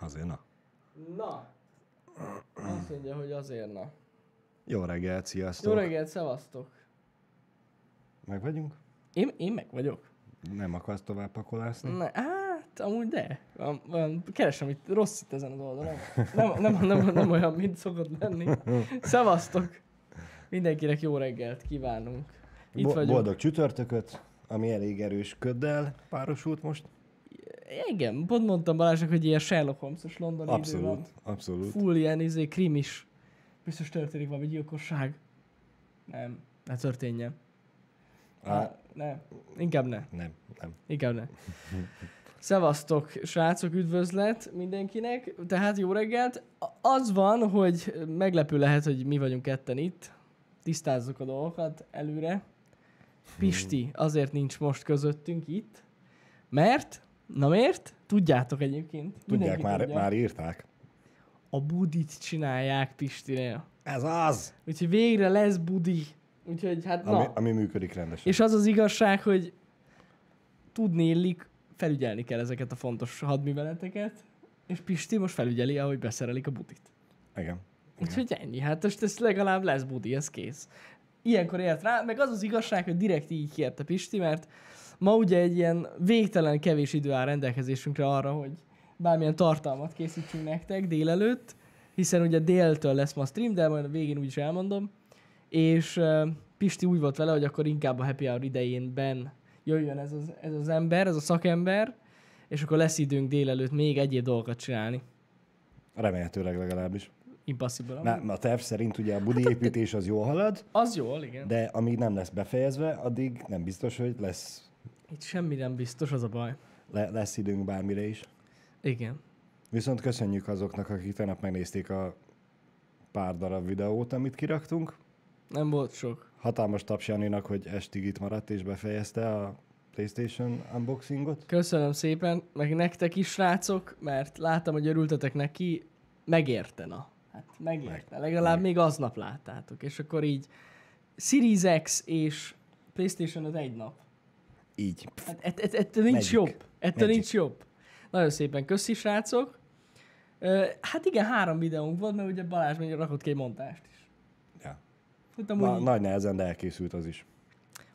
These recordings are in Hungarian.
Azért na. Na, azt mondja, hogy azért na. Jó reggelt, sziasztok. Jó reggelt, szevasztok. Meg vagyunk? Én, én meg vagyok. Nem akarsz tovább pakolászni? Na, hát, amúgy de. Am- am- Keresem itt rossz itt ezen az oldalon. Nem, nem, nem, nem olyan, mint szokott lenni. Szevasztok. Mindenkinek jó reggelt kívánunk. Itt Bo- vagyunk. Boldog csütörtököt, ami elég erős köddel párosult most. Igen, pont mondtam Balázsnak, hogy ilyen Sherlock Holmes-os londoni idő van. Abszolút, abszolút. Full ilyen izé, krimis. Biztos történik valami gyilkosság. Nem, ne történjen. Á, Á, ne, inkább ne. nem, nem. Inkább ne. Szevasztok, srácok, üdvözlet mindenkinek. Tehát jó reggelt. A- Az van, hogy meglepő lehet, hogy mi vagyunk ketten itt. Tisztázzuk a dolgokat előre. Pisti azért nincs most közöttünk itt, mert, na miért? Tudjátok egyébként. Tudják, Mindenki már, tudja. már írták. A budit csinálják Pistinél. Ez az, Úgyhogy végre lesz budi. Úgyhogy hát na. ami, ami működik rendesen. És az az igazság, hogy tudni illik, felügyelni kell ezeket a fontos hadműveleteket, és Pisti most felügyeli, ahogy beszerelik a budit. Igen. Igen. Úgyhogy ennyi, hát most ez legalább lesz budi, ez kész. Ilyenkor élt rá, meg az az igazság, hogy direkt így kérte Pisti, mert ma ugye egy ilyen végtelen kevés idő áll rendelkezésünkre arra, hogy bármilyen tartalmat készítsünk nektek délelőtt, hiszen ugye déltől lesz ma a stream, de majd a végén úgyis elmondom. És ö, Pisti úgy volt vele, hogy akkor inkább a happy hour idejénben jöjjön ez az, ez az ember, ez a szakember, és akkor lesz időnk délelőtt még egyéb dolgokat csinálni. Remélhetőleg legalábbis. Impossible. Na, a terv szerint ugye a Hát- budi építés az jól halad, Az jól, igen. de amíg nem lesz befejezve, addig nem biztos, hogy lesz, Itt semmi nem biztos, az a baj. le, lesz időnk bármire is. Igen. Viszont köszönjük azoknak, akik tegnap megnézték a pár darab videót, amit kiraktunk. Nem volt sok. Hatalmas taps Janinak, hogy estig itt maradt és befejezte a PlayStation unboxingot. Köszönöm szépen, meg nektek is, srácok, mert láttam, hogy örültetek neki. Megérte, na. Hát megérte. Legalább meg. még aznap láttátok. És akkor így Series X és PlayStation 5 egy nap. Így. Hát ett, ett, ettől nincs Magic. jobb. Ettől Magic. nincs jobb. Nagyon szépen köszi, srácok. Ö, hát igen, három videónk volt, mert ugye Balázs még rakott ki egy montást is. Ja. Hát amúgy, Na, na, na. nagy nehezen, de elkészült az is.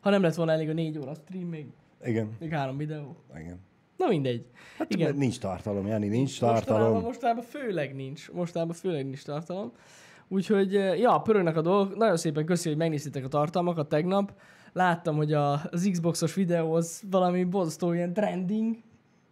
ha nem lett volna elég a négy óra stream, még, Igen, még három videó. igen. Na mindegy. Hát Igen. igen. nincs tartalom, Jani, nincs Mostanában, tartalom. mostanában főleg nincs. Mostanában főleg nincs tartalom. Úgyhogy, eh, ja, pörögnek a dolgok. Nagyon szépen köszi, hogy megnéztétek a tartalmakat tegnap. Láttam, hogy a, az Xboxos videó az valami borzasztó ilyen trending.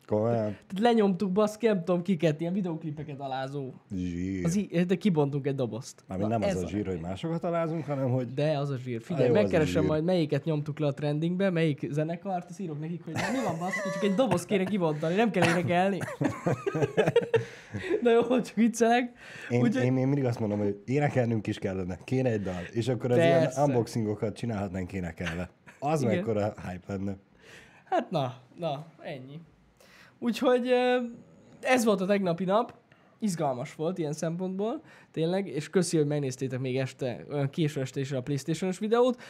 Komolyan. Tehát lenyomtuk baszki, nem tudom kiket, ilyen videoklipeket alázó. Zsír. Az, i- de kibontunk egy dobozt. Mármint Na, nem az ez a zsír, hogy másokat találunk, hanem hogy De az a zsír. Figyelj, Á, jó, az a megkeresem zsír. majd melyiket nyomtuk le a trendingbe, melyik zenekart, azt írok nekik, hogy mi van baszki, csak egy doboz kéne kivontani, nem kell énekelni. Na jó, csak viccelek. én, Ugye- én, én mindig azt mondom, hogy énekelnünk is kellene, kéne egy dal, és akkor az ilyen Persze. unboxingokat csinálhatnánk énekelve. Az Igen. mekkora hype lenne. Hát na, na, ennyi. Úgyhogy ö, ez volt a tegnapi nap, izgalmas volt ilyen szempontból, tényleg, és köszi, hogy megnéztétek még este, olyan késő este is a Playstation-os videót.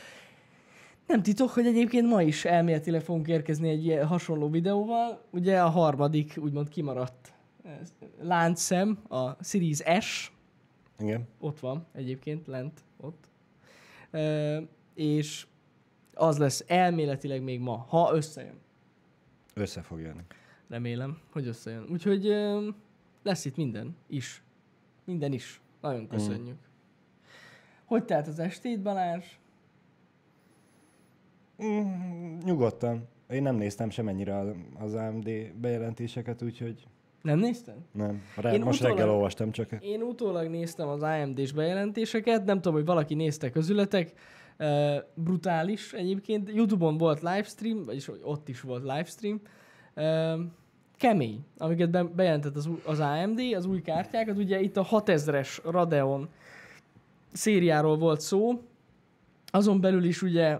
Nem titok, hogy egyébként ma is elméletileg fogunk érkezni egy ilyen hasonló videóval. Ugye a harmadik, úgymond kimaradt ö, láncszem, a Series S, Igen. ott van egyébként, lent, ott. Ö, és az lesz elméletileg még ma, ha összejön. Össze fog jönni. Remélem, hogy összejön. Úgyhogy ö, lesz itt minden is. Minden is. Nagyon köszönjük. Mm. Hogy telt az estét, Balázs? Mm, nyugodtan. Én nem néztem semennyire a- az AMD bejelentéseket, úgyhogy Nem nézted? nem. Re- Én most utólag- reggel olvastam csak. Én utólag néztem az AMD-s bejelentéseket, nem tudom, hogy valaki nézte közületek. Ö, brutális egyébként. Youtube-on volt livestream, vagyis ott is volt livestream. Ö, kemény, amiket be- bejelentett az, új- az AMD, az új kártyákat. Ugye itt a 6000-es Radeon szériáról volt szó. Azon belül is ugye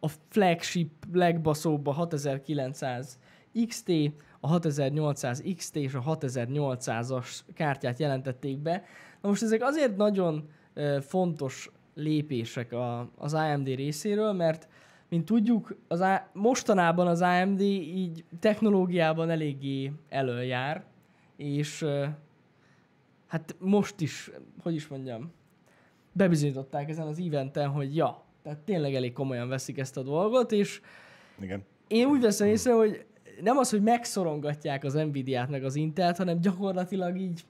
a flagship legbaszóbb a 6900 XT, a 6800 XT és a 6800-as kártyát jelentették be. Na most ezek azért nagyon ö, fontos lépések a, az AMD részéről, mert mint tudjuk, az á- mostanában az AMD így technológiában eléggé előjár, és ö, hát most is, hogy is mondjam, bebizonyították ezen az eventen, hogy ja, tehát tényleg elég komolyan veszik ezt a dolgot, és Igen. én úgy veszem észre, hogy nem az, hogy megszorongatják az Nvidia-t meg az Intelt, hanem gyakorlatilag így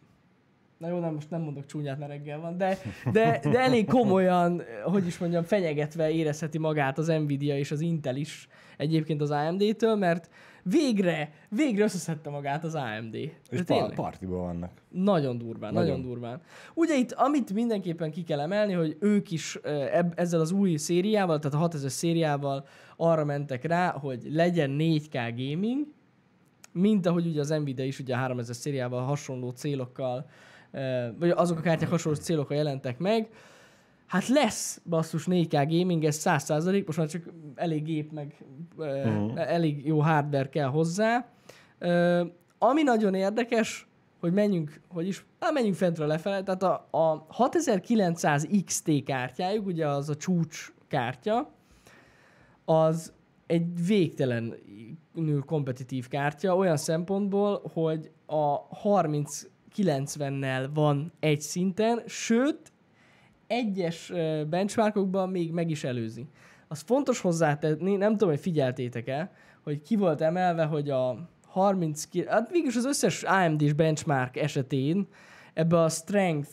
Na jó, nem, most nem mondok csúnyát, mert reggel van, de, de, de elég komolyan, hogy is mondjam, fenyegetve érezheti magát az Nvidia és az Intel is egyébként az AMD-től, mert végre, végre összeszedte magát az AMD. És De pa- tényleg. partiban vannak. Nagyon durván, nagyon. nagyon Nagyon. durván. Ugye itt, amit mindenképpen ki kell emelni, hogy ők is ö, eb- ezzel az új szériával, tehát a 6000 szériával arra mentek rá, hogy legyen 4K gaming, mint ahogy ugye az Nvidia is ugye a 3000 szériával hasonló célokkal, ö, vagy azok a kártyák hasonló célokkal jelentek meg. Hát lesz basszus 4K gaming, ez 100%, most már csak elég gép, meg uh-huh. elég jó hardware kell hozzá. Ö, ami nagyon érdekes, hogy menjünk, hogy is, hát menjünk fentről lefele, tehát a, a 6900 XT kártyájuk, ugye az a csúcs kártya, az egy végtelenül kompetitív kártya, olyan szempontból, hogy a 3090-nel van egy szinten, sőt, egyes ö, benchmarkokban még meg is előzi. Az fontos hozzátenni, nem tudom, hogy figyeltétek-e, hogy ki volt emelve, hogy a 30, ki- hát végülis az összes AMD-s benchmark esetén ebbe a strength,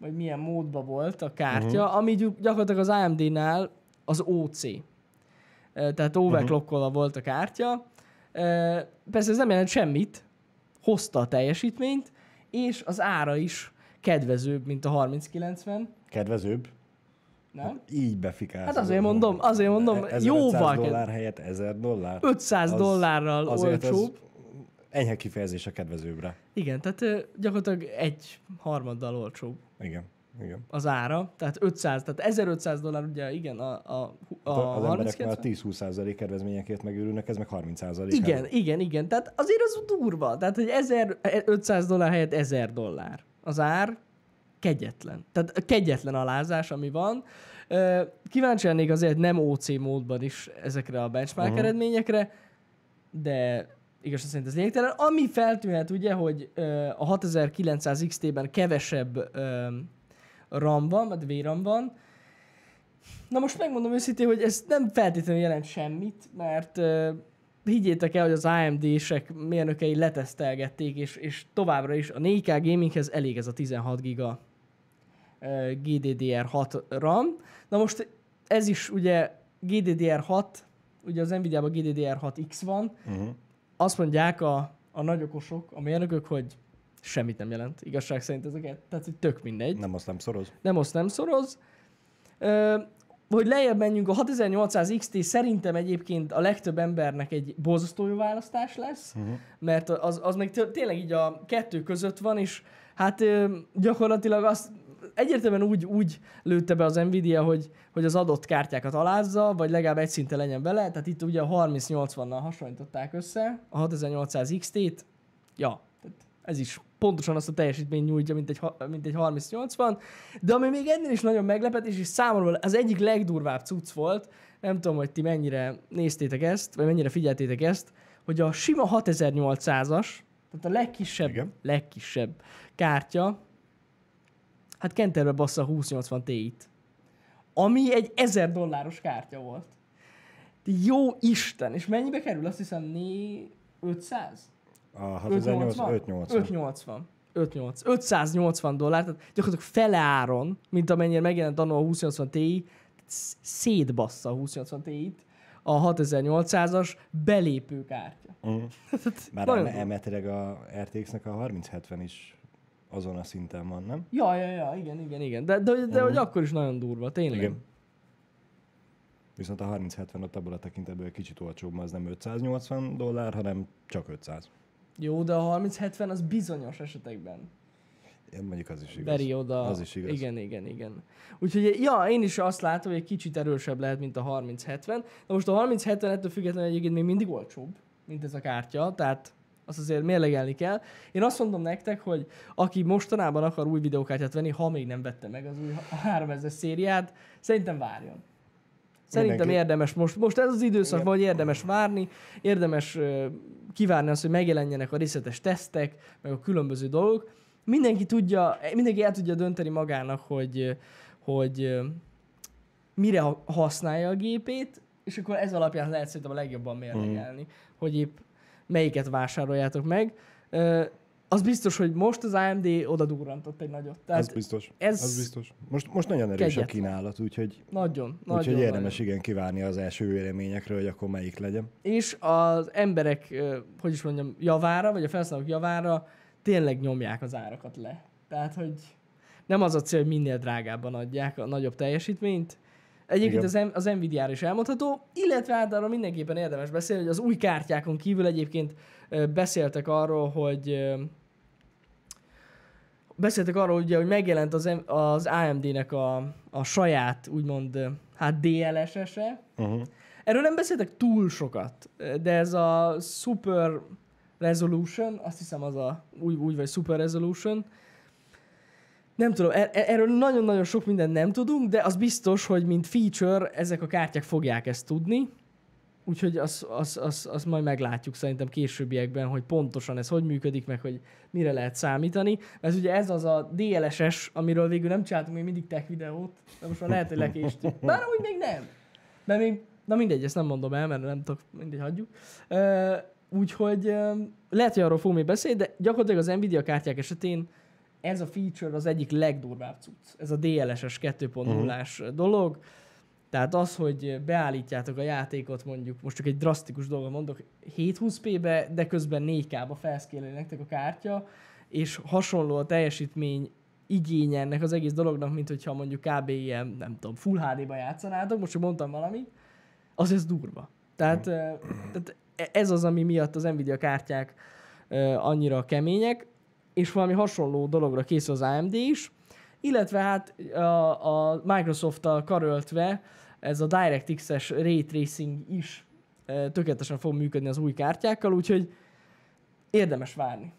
vagy milyen módba volt a kártya, uh-huh. ami gyu- gyakorlatilag az AMD-nál az OC. Ö, Tehát overclockolva uh-huh. volt a kártya. Ö, Persze ez nem jelent semmit, hozta a teljesítményt, és az ára is kedvezőbb, mint a 3090. Kedvezőbb. Nem? Így befikálsz. Hát azért mondom, azért mondom, E- 1500 jóval kedv- dollár helyett 1000 dollár. 500 Az- dollárral Azért ez olcsóbb. enyhe kifejezés a kedvezőbbre. Igen, tehát ö, gyakorlatilag egy harmaddal olcsóbb Igen. Igen. az ára, tehát 500, tehát 1500 dollár ugye, igen, a, a, a, A, az a emberek már 39 10-20% kedvezményekért megőrülnek, ez meg 30%. Igen, igen, igen, tehát azért az durva, tehát hogy 1500 dollár helyett 1000 dollár az ár, kegyetlen. Tehát a kegyetlen alázás, ami van. Ö, Kíváncsi lennék azért nem OC módban is ezekre a benchmark uh-huh. eredményekre, de igazság szerint ez lényegtelen. Ami feltűnhet ugye, hogy ö, a 6900 XT-ben kevesebb ö, RAM van, vagy VRAM van. Na most megmondom őszintén, hogy ez nem feltétlenül jelent semmit, mert ö, higgyétek el, hogy az AMD-sek mérnökei letesztelgették, és, és továbbra is a 4K gaminghez elég ez a 16 giga ö, GDDR6 RAM. Na most ez is ugye GDDR6, ugye az Nvidia-ban GDDR6X van, Uh-huh. azt mondják a, a nagyokosok, a mérnökök, hogy semmit nem jelent. Igazság szerint ezeket, tehát hogy tök mindegy Nem azt nem szoroz. nem azt nem szoroz. Ö, hogy lejjebb menjünk, a 6800 XT szerintem egyébként a legtöbb embernek egy borzasztó jó választás lesz, uh-huh. mert az, az meg tő- tényleg így a kettő között van, és hát ö, gyakorlatilag azt egyértelműen úgy, úgy lőtte be az Nvidia, hogy, hogy az adott kártyákat alázza, vagy legalább egy szinte legyen vele, tehát itt ugye a 3080-nal hasonlították össze a 6800 XT-t, ja, tehát ez is pontosan azt a teljesítményt nyújtja, mint egy, ha- mint egy 30-80, de ami még ennél is nagyon meglepetés, és számomra az egyik legdurvább cucc volt, nem tudom, hogy ti mennyire néztétek ezt, vagy mennyire figyeltétek ezt, hogy a sima 6800-as, tehát a legkisebb, Igen. Igen. legkisebb kártya, hát kenterbe bassza a 2080 Ti-t, ami egy 1000 dolláros kártya volt. De jó Isten! És mennyibe kerül? Azt hiszem, né... 500? A 6800 580. 580. 580. 580 dollár, tehát gyakorlatilag fele áron, mint amennyire megjelent annó a 2080 Ti, sz- szétbassza a 2080 Ti-t a 6800-as belépő kártya. Már Nagyon elme- durva. elméletileg a RTX-nek a 3070 is azon a szinten van, nem? Ja, ja, ja, igen, igen, igen. De, de, de, de hogy akkor is nagyon durva, tényleg. Mhm. Igen. Viszont a 3070 ott abból a tekintetből egy kicsit olcsóbb, az nem 580 dollár, hanem csak 500. Jó, de a 3070 az bizonyos esetekben. Én mondjuk az is igaz. Veri oda. Az is igaz. Igen, igen, igen. Úgyhogy, ja, én is azt látom, hogy egy kicsit erősebb lehet, mint a 3070. Na most a 3070 ettől függetlenül egyébként még mindig olcsóbb, mint ez a kártya, tehát azt azért mérlegelni kell. Én azt mondom nektek, hogy aki mostanában akar új videókártyát venni, ha még nem vette meg az új 3000 szériát, szerintem várjon. Szerintem Mindenki- érdemes most, most ez az időszak, Igen. vagy érdemes várni, érdemes ö, kívánni azt, hogy megjelenjenek a részletes tesztek, meg a különböző dolgok. Mindenki tudja, mindenki el tudja dönteni magának, hogy, ö, hogy ö, mire ha- használja a gépét, és akkor ez alapján lehet szerintem a legjobban mérlegelni, Mhm. hogy épp melyiket vásároljátok meg. Ö, az biztos, hogy most az AMD oda durrantott egy nagyot. Tehát ez biztos. ez- Ez... ez biztos. Most, most nagyon erős Kegyetlen. a kínálat, úgyhogy, nagyon, nagyon. úgyhogy érdemes nagyon. igen kívánni az első véleményekről, hogy akkor melyik legyen. És az emberek, ö, hogy is mondjam, javára, vagy a felhasználók javára tényleg nyomják az árakat le. Tehát, hogy nem az a cél, hogy minél drágábban adják a nagyobb teljesítményt. Egyébként Igen. az, M- az Nvidia-ra is elmondható, illetve hát arról mindenképpen érdemes beszélni, hogy az új kártyákon kívül egyébként ö, beszéltek arról, hogy ö, beszéltek arról ugye, hogy megjelent az, M- az AMD-nek a, a saját, úgymond, ö, hát DLSS-e, Uh-huh. Erről nem beszéltek túl sokat, de ez a Super Resolution, azt hiszem az a úgy, úgy vagy Super Resolution. Nem tudom, er- er- erről nagyon-nagyon sok mindent nem tudunk, de az biztos, hogy mint feature ezek a kártyák fogják ezt tudni. Úgyhogy azt az, az, az majd meglátjuk szerintem későbbiekben, hogy pontosan ez hogy működik, meg hogy mire lehet számítani. Mert ugye ez az a DLSS, amiről végül nem csináltunk még mindig tech videót, de most már lehet, hogy lekéstük. Bár úgy még nem. De még, na mindegy, ezt nem mondom el, mert nem tudok, mindegy, hagyjuk. Ö, úgyhogy ö, lehet, hogy arról fogunk még beszélni, de gyakorlatilag az Nvidia kártyák esetén ez a feature az egyik legdurvább cucc. Ez a DLSS 2.0-ás dolog. Tehát az, hogy beállítjátok a játékot mondjuk, most csak egy drasztikus dolgot mondok, 720p-be, de közben 4K-ba felszkéleli nektek a kártya, és hasonló a teljesítmény igénye ennek az egész dolognak, mint hogyha mondjuk kb. ilyen, nem tudom, full HD-ba játszanátok, most csak mondtam valamit, az ez durva. Tehát, ö, tehát e-, ez az, ami miatt az Nvidia kártyák ö, annyira kemények, és valami hasonló dologra készül az AMD is, illetve hát a, a Microsoft-tal karöltve ez a DirectX-es Ray Tracing is ö, tökéletesen fog működni az új kártyákkal, úgyhogy érdemes várni.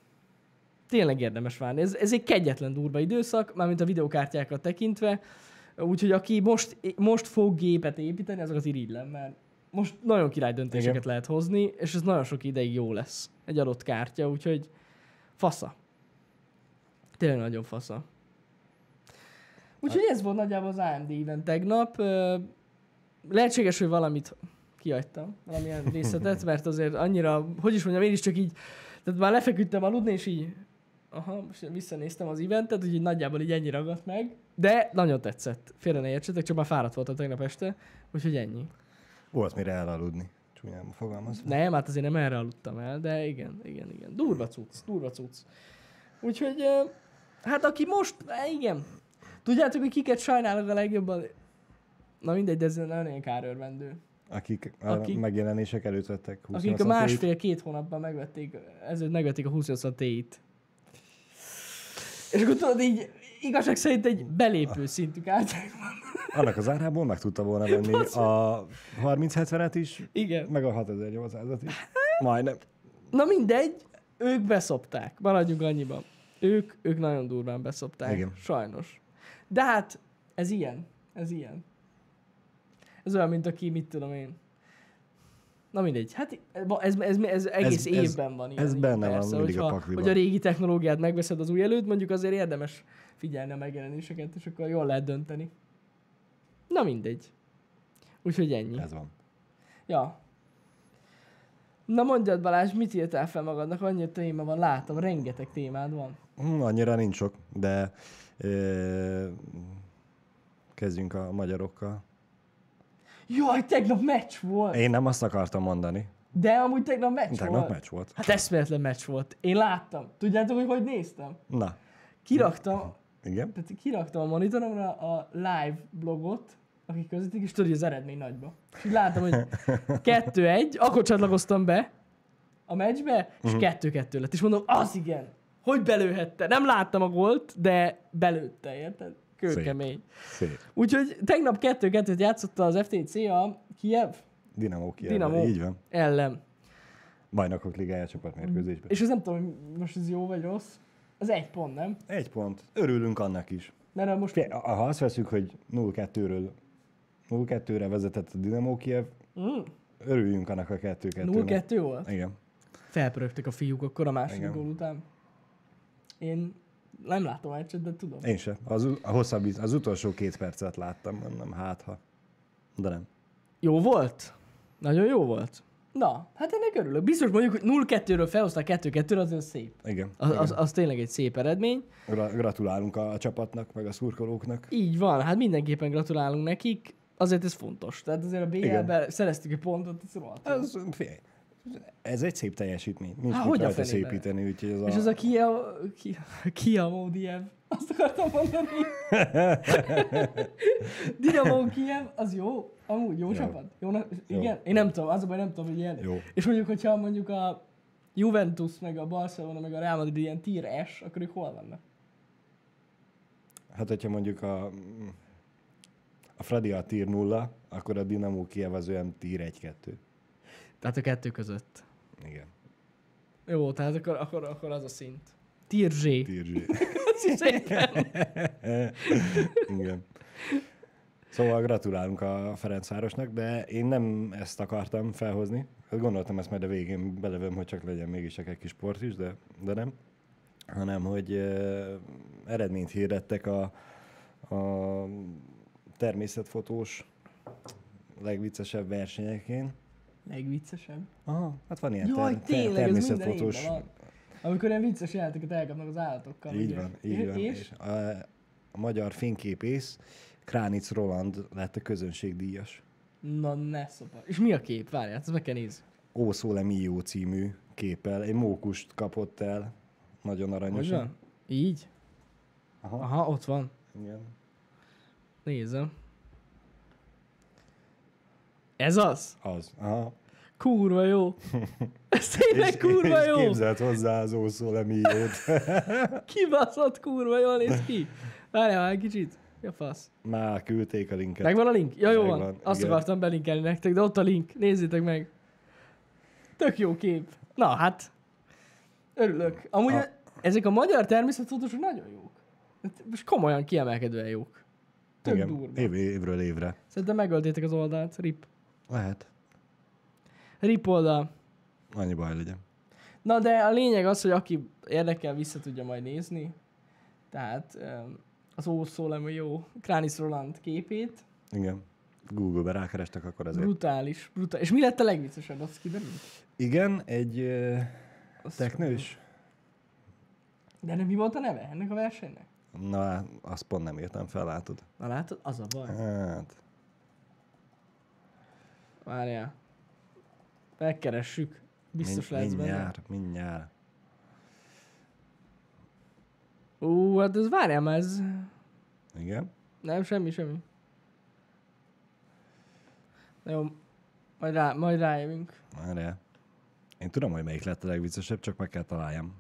Tényleg érdemes várni. Ez, ez egy kegyetlen durva időszak, mármint a videokártyákat tekintve, úgyhogy aki most, most fog gépet építeni, azokat irigylem, mert most nagyon király döntéseket Igen. lehet hozni, és ez nagyon sok ideig jó lesz egy adott kártya, úgyhogy fasza. Tényleg nagyon fasza. Úgyhogy ez volt nagyjából az AMD event tegnap. Ö, Lehetséges, hogy valamit kiadtam, valamilyen részletet, mert azért annyira, hogy is mondjam, én is csak így, tehát már lefeküdtem aludni, és így, aha, most visszanéztem az eventet, úgyhogy nagyjából így ennyi ragadt meg, de nagyon tetszett. Félre ne értsetek, csak már fáradt voltam tegnap este, úgyhogy ennyi. Volt mire elaludni. Csúnyán fogalmazva. Nem, hát azért nem erre aludtam el, de igen, igen, igen. Durva cucc, durva cucc. Úgyhogy, ö, hát aki most, hát igen. Tudjátok, hogy kiket sajnálok a legjobban? Na mindegy, de ez nagyon kárőrvendő. Akik, Akik- akik a megjelenések előtt vettek 20 Akik a másfél-két hónapban megvették, ezért megvették a 2080 Ti-t. És akkor tudod, így igazság szerint egy belépő szintű kártyák van. Annak az árából meg tudta volna venni a 3070-et is, Igen. meg a 6800-at is. Hát? Majdnem. Na mindegy, ők beszopták. Maradjunk annyiban. Ők, ők nagyon durván beszopták. Igen. Sajnos. De hát, ez ilyen. Ez ilyen. Ez olyan, mint aki, mit tudom én. Na mindegy. Hát ez, ez, ez, ez egész ez- évben van ilyen. ez így, benne van mindig a hogyha, pakliban. Hogy a régi technológiát megveszed az új előtt, mondjuk azért érdemes figyelni a megjelenéseket, és akkor jól lehet dönteni. Na mindegy. Úgyhogy ennyi. Ez van. Ja. Na mondjad Balázs, mit írtál fel magadnak? Annyi téma van, látom, rengeteg témád van. Hm, Annyira nincs sok, de ö, kezdjünk a magyarokkal. Jaj, tegnap meccs volt! Én nem azt akartam mondani. De amúgy tegnap meccs Tegnap volt. meccs volt. Hát eszméletlen meccs volt. Én láttam. Tudjátok, hogy hogy néztem? Na, Kiraktam, igen. tehát kiraktam a monitoromra a live blogot, akik közöttik, és tudod, hogy az eredmény nagyba. És így láttam, hogy 2-1, akkor csatlakoztam be a meccsbe, és 2-2 lett. És mondom, az igen, hogy belőhette. Nem láttam a gólt, de belőtte, érted? Kőkemény. Szép. Úgyhogy tegnap 2-2-t játszotta az FTC a Kiev Dinamo Kiev. Dinamo. Így van. ellen. Bajnokok ligája csoportmérkőzésben. És ez nem tudom, hogy most ez jó vagy rossz. Az egy pont, nem? Egy pont. Örülünk annak is. Mert a most Fie- Ha azt veszük, hogy 0-2-ről 0-2-re vezetett a Dinamo Kiev. Mm. Örüljünk annak a 2 2 0-2 volt? Igen. Felpörögtek a fiúk akkor a második Igen. gól után. Én nem látom a meccset, de tudom. Én se. Az, u- a hosszabb, iz- az utolsó két percet láttam, mondom, hát ha. De nem. Jó volt? Nagyon jó volt. Na, hát ennek örülök. Biztos mondjuk, hogy 0-2-ről felhozták 2-2-re, az olyan szép. Igen. Az, igen. az, az tényleg egy szép eredmény. Gra- Gratulálunk a, a csapatnak, meg a szurkolóknak. Így van, hát mindenképpen gratulálunk nekik. Azért ez fontos. Tehát azért a BL-ben szereztük egy pontot, ez rohadt. jó. Ez, figyelj, ez egy szép teljesítmény. Nincs Há, Há, hogy mit a rajta fenébe? szépíteni, úgyhogy ez a... És ez a Kia, Kia, Kia Modiev, azt akartam mondani. Dinamo Kiev, az jó, amúgy jó, Jó. csapat. Jónak, Jó. igen, én nem tudom, az a baj, nem tudom, hogy ilyen. Jó. És mondjuk, hogyha mondjuk a Juventus, meg a Barcelona, meg a Real Madrid ilyen tier S, akkor ők hol vannak? Hát, hogyha mondjuk a, a Fradi a tier 0, akkor a Dinamo Kiev az olyan tier 1-2. Tehát a kettő között. Igen. Jó, tehát akkor, akkor, akkor az a szint. Tier Z. Tier G. Szépen. Igen. Szóval gratulálunk a Ferencvárosnak, de én nem ezt akartam felhozni. Hát Gondoltam ezt majd a végén belevöm, hogy csak legyen mégis csak egy kis sport is, de, de nem. Hanem, hogy ö, eredményt hirdettek a, a természetfotós legviccesebb versenyekén. Legviccesebb. Aha, hát van ilyen Jaj, ter- ter- tényleg, ez minden természetfotós. évben van. Amikor ilyen vicces játékot elkapnak az állatokkal. Így ugye? van, így van. És? És a, a magyar fényképész Kránic Roland lett a közönségdíjas. Na ne szopa. És mi a kép? Várjál, ezt meg kell nézni. Ószóle Mió című képpel. Egy mókust kapott el. Nagyon Hogy aranyos. van? Így? Aha. Aha, ott van. Igen. Nézem. Ez az? Az. Aha. Kurva jó. Ez tényleg kurva és jó. képzelt hozzá az Ószóle Miót. Kibaszott kurva jól néz ki. Várjál már egy kicsit. Mi a fasz? Már küldték a linket. Megvan a link? Ja, jó van. Megvan, Azt igen. akartam belinkelni nektek, de ott a link. Nézzétek meg. Tök jó kép. Na hát. Örülök. Amúgy A- ezek a magyar természettudatosok nagyon jók. Hát Most komolyan kiemelkedően jók. Tök Igen. durva. Év, évről évre. Szerintem megöltétek az oldalt. Rip. Lehet. Rip oldal. Annyi baj legyen. Na de a lényeg az, hogy aki érdekel, vissza tudja majd nézni. Tehát öm, az ószólem jó Kránisz Roland képét. Igen. Google-be rákerestek, akkor azért. Brutális, brutális. És mi lett a legviccesebb, az kiderült? Igen, egy ö, Azt teknős. De nem mi volt a neve ennek a versenynek? Na, azt pont nem írtam fel, látod. Na látod, az a baj. Hát, Várjál. Megkeressük. Biztos min- lesz benne. mindjárt, mindjárt. Ú, hát ez várjál már, ez... Igen. Nem, semmi, semmi. Na jó, majd, rá, majd rájövünk. Várjál. Én tudom, hogy melyik lett a legviccesebb, csak meg kell találjam.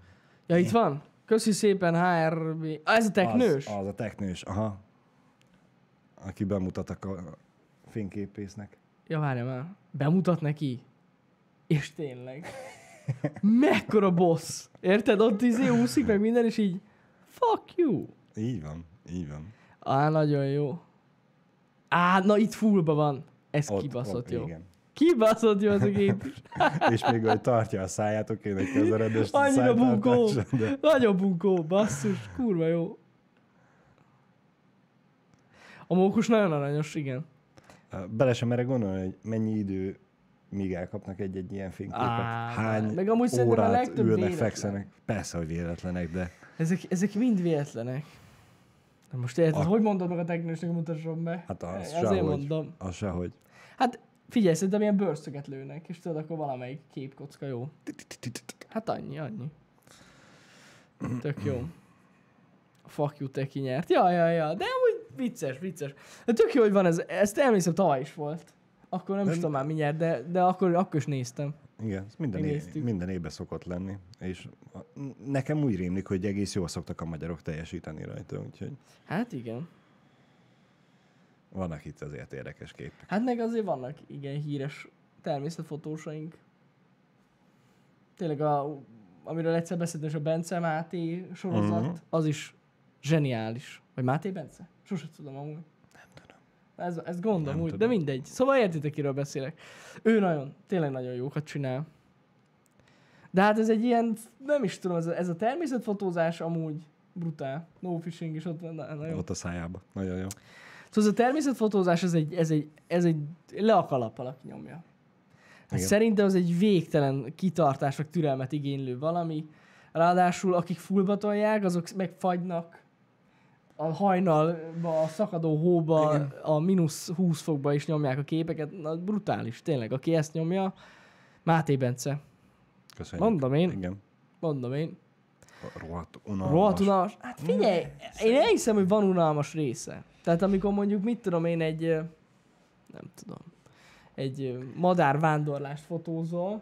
Ja, itt van. Köszi szépen, HRB. Ah, ez a teknős? Az, az a teknős, aha. Aki bemutat a ka- fényképésznek. Ja, várjál már. Bemutat neki. És tényleg. Mekkora boss. Érted? Ott izé úszik meg minden, és így fuck you. Így van, így van. Á, nagyon jó. Á, na itt fullba van. Ez Ott- kibaszott ott, jó. Igen. Kibaszott jó az a gép is. És még hogy tartja a száját, oké, neki az eredes Annyira bunkó. szájtartása, de Nagyon bunkó. Basszus, kurva jó. A mókus nagyon aranyos, igen. Bele sem merek gondolni, hogy mennyi idő míg elkapnak egy-egy ilyen fényképet. Á, Hány meg amúgy szerintem a órát legtöbb ülnek, véletlen. fekszenek. Persze, hogy véletlenek, de Ezek, ezek mind véletlenek. Na Most érted, A- hogy mondod meg a teknősnek, mutasson be? Hát az Azért sehogy. mondom. az sehogy. Hát figyelj, szerintem ilyen bőrszöget lőnek, és tudod, akkor valamelyik képkocka jó. Hát annyi, annyi. Tök jó. A fuck you teki nyert. Ja, ja, ja, de amúgy vicces, vicces. De tök jó, hogy van ez. Ezt emlékszem, tavaly is volt. Akkor nem, nem. is Nem. tudom már mi nyert, de, de akkor, akkor is néztem. Igen, ez minden, Megnéztük. é- minden évben szokott lenni, és a- n- nekem úgy rémlik, hogy egész jól szoktak a magyarok teljesíteni rajta, úgyhogy Hát igen. vannak itt azért érdekes képek. Hát meg azért vannak igen híres természetfotósaink. Tényleg, a, amiről egyszer beszéltünk, és a Bence Máté sorozat, Mhm. az is zseniális. Vagy Máté Bence? Sose tudom amúgy. Nem tudom. Ez, ez gondom Nem úgy, de tudom. mindegy. Szóval értitek, kiről beszélek. Ő nagyon, tényleg nagyon jókat csinál. De hát ez egy ilyen, nem is tudom, ez a, ez a természetfotózás amúgy brutál. No fishing is ott van, na, na jó. Ott a szájába. Nagyon jó. Szóval ez a természetfotózás, ez egy, ez egy, ez egy le a kalappal, aki nyomja. Hát Igen. szerintem az egy végtelen kitartás, meg türelmet igénylő valami. Ráadásul akik fullbatolják, azok megfagynak a hajnalba, a szakadó hóba, Igen. a mínusz 20 fokba is nyomják a képeket. Na, brutális, tényleg. Aki ezt nyomja, Máté Bence. Köszönjük. Mondom én, Igen. mondom én. Rohadt unalmas. Rohadt unalmas. Hát figyelj, Hmm, én elhiszem, hogy van unalmas része. Tehát amikor mondjuk, mit tudom én, egy, ö, nem tudom, egy ö, madárvándorlást fotózol,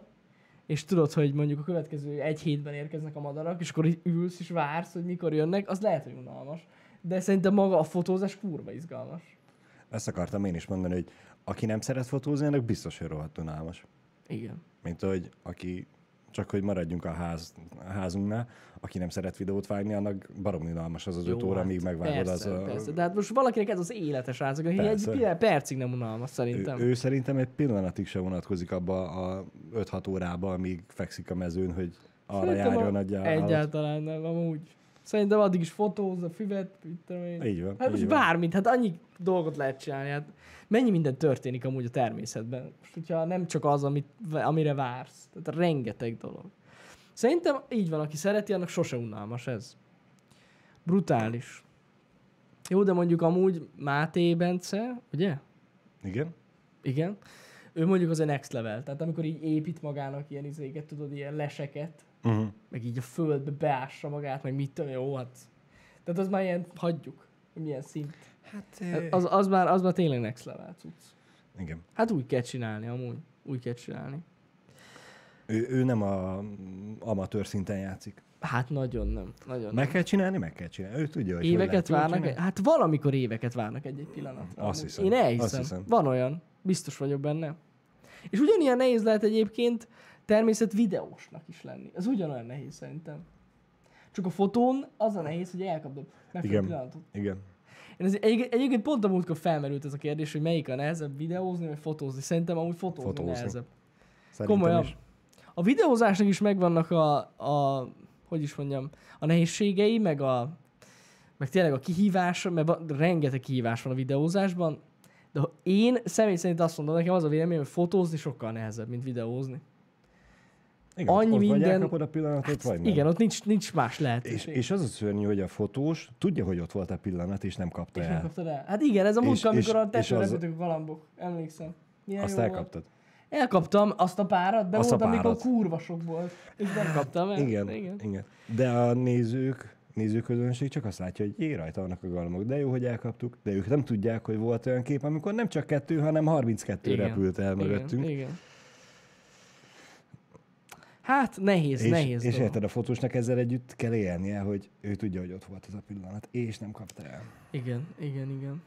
és tudod, hogy mondjuk a következő egy hétben érkeznek a madarak, és akkor így ülsz és vársz, hogy mikor jönnek, az lehet, hogy unalmas. De szerintem maga a fotózás kurva izgalmas. Ezt akartam én is mondani, hogy aki nem szeret fotózni, annak biztos, hogy rohadt unalmas. Igen. Mint hogy aki, csak hogy maradjunk a, ház, a házunknál, aki nem szeret videót vágni, annak baromi unalmas az az öt óra, míg megvágod hát persze, az a... Persze, de hát most valakinek ez az élete, srácok, hogy egy Persze. pil- percig nem unalmas Ő, szerintem. ő szerintem egy pillanatig se vonatkozik abba a 5-6 órába, amíg fekszik a mezőn, hogy arra Szerintem járjon a- a gyárat. Egyáltalán nem, amúgy. Szerintem addig is fotóz a füvet, mit tudom én. Így van. Hát így most van. bármit, hát annyi dolgot lehet csinálni. Hát mennyi minden történik amúgy a természetben. Most, hogyha nem csak az, amit, amire vársz. Tehát rengeteg dolog. Szerintem így van, aki szereti, annak sose unalmas ez. Brutális. Jó, de mondjuk amúgy Máté Bence, ugye? Igen? Igen. Ő mondjuk az a next level. Tehát amikor így épít magának ilyen izéket, tudod, ilyen leseket, Uh-huh. meg így a földbe beássa magát, meg mit tudom, én, jó, hát. Tehát az már ilyen, hagyjuk, hogy milyen szint. Hát, Az, az, már, az már tényleg next level cucc. Igen. Hát úgy kell csinálni amúgy. Úgy kell csinálni. Ő, ő nem a amatőr szinten játszik. Hát nagyon nem. Nagyon nem. Meg kell csinálni, meg kell csinálni. Ő tudja, hogy hogy Éveket lehet jól várnak? csinálni. Hát valamikor éveket várnak egy-egy pillanatra. Azt amúgy. hiszem, Én elhiszem. azt hiszem. Van olyan. Biztos vagyok benne. És ugyanilyen nehéz lehet egyébként természet videósnak is lenni. Ez ugyanolyan nehéz szerintem. Csak a fotón az a nehéz, hogy elkapod megfelelő Igen. pillanatot. Igen. Én ez egy, egyébként pont a múltkor felmerült ez a kérdés, hogy melyik a nehezebb videózni vagy fotózni. Szerintem amúgy fotózni, fotózni. Fotózni. nehezebb. Szerintem Komolyan. is. A videózásnak is megvannak a, a hogy is mondjam, a nehézségei, meg a meg tényleg a kihívása, mert van, rengeteg kihívás van a videózásban, de ha én személy szerint azt mondom, nekem az a véleményem, hogy fotózni sokkal nehezebb, mint videózni. Igen, Annyi ott minden- Hát, Vagy elkapod a pillanatot, Hát vagy nem. Igen, ott nincs, nincs más És, lehetőség. és az a szörnyű, hogy a fotós tudja, hogy ott volt a pillanat, és nem kapta és el. nem kaptad el. Hát igen, ez a múltkor, és- amikor a és tetőre az- az... a galambok, emlékszem. Milyen Azt jó volt. elkaptad. Elkaptam azt a párat, de Azt a volt, amikor párat. kurva sok volt, és nem kaptam el. Igen, igen. igen. De a nézők, nézőközönség csak azt látja, hogy jé, rajta vannak a galmok. De jó, hogy elkaptuk, de ők nem tudják, hogy volt olyan kép, amikor nem csak kettő, hanem 32 Igen, repült el mögöttünk. Igen, igen. Hát nehéz, És, nehéz és dolog. érted, a fotósnak ezzel együtt kell élnie, hogy ő tudja, hogy ott volt az a pillanat, és nem kapta el. Igen, igen, igen.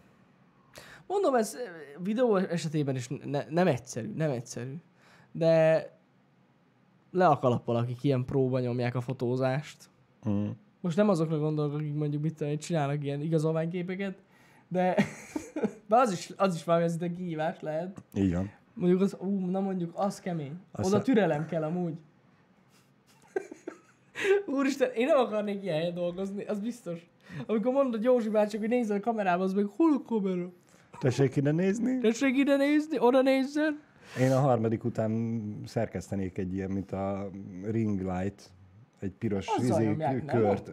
Mondom, ez eh, videó esetében is ne, nem egyszerű, nem egyszerű. De le a kalappal, akik ilyen próba nyomják a fotózást. Mm. Most nem azokra gondolok, akik mondjuk mit tudom, én, csinálnak ilyen igazolványképeket, de, de az, is, az is valami, ez itt a kihívás lehet. Így van. Mondjuk az, ú, na mondjuk, az kemény. Azt Oda a- türelem kell amúgy. Úristen, én nem akarnék ilyen helyen dolgozni, az biztos. Amikor mondod Józsi bácsi, hogy nézzel a kamerába, az meg hol a kamera? Tessék ide nézni. Tessék ide nézni, oda nézzel. Én a harmadik után szerkesztenék egy ilyen, mint a ring light, egy piros Azzal izé, nyomják, nem? kört.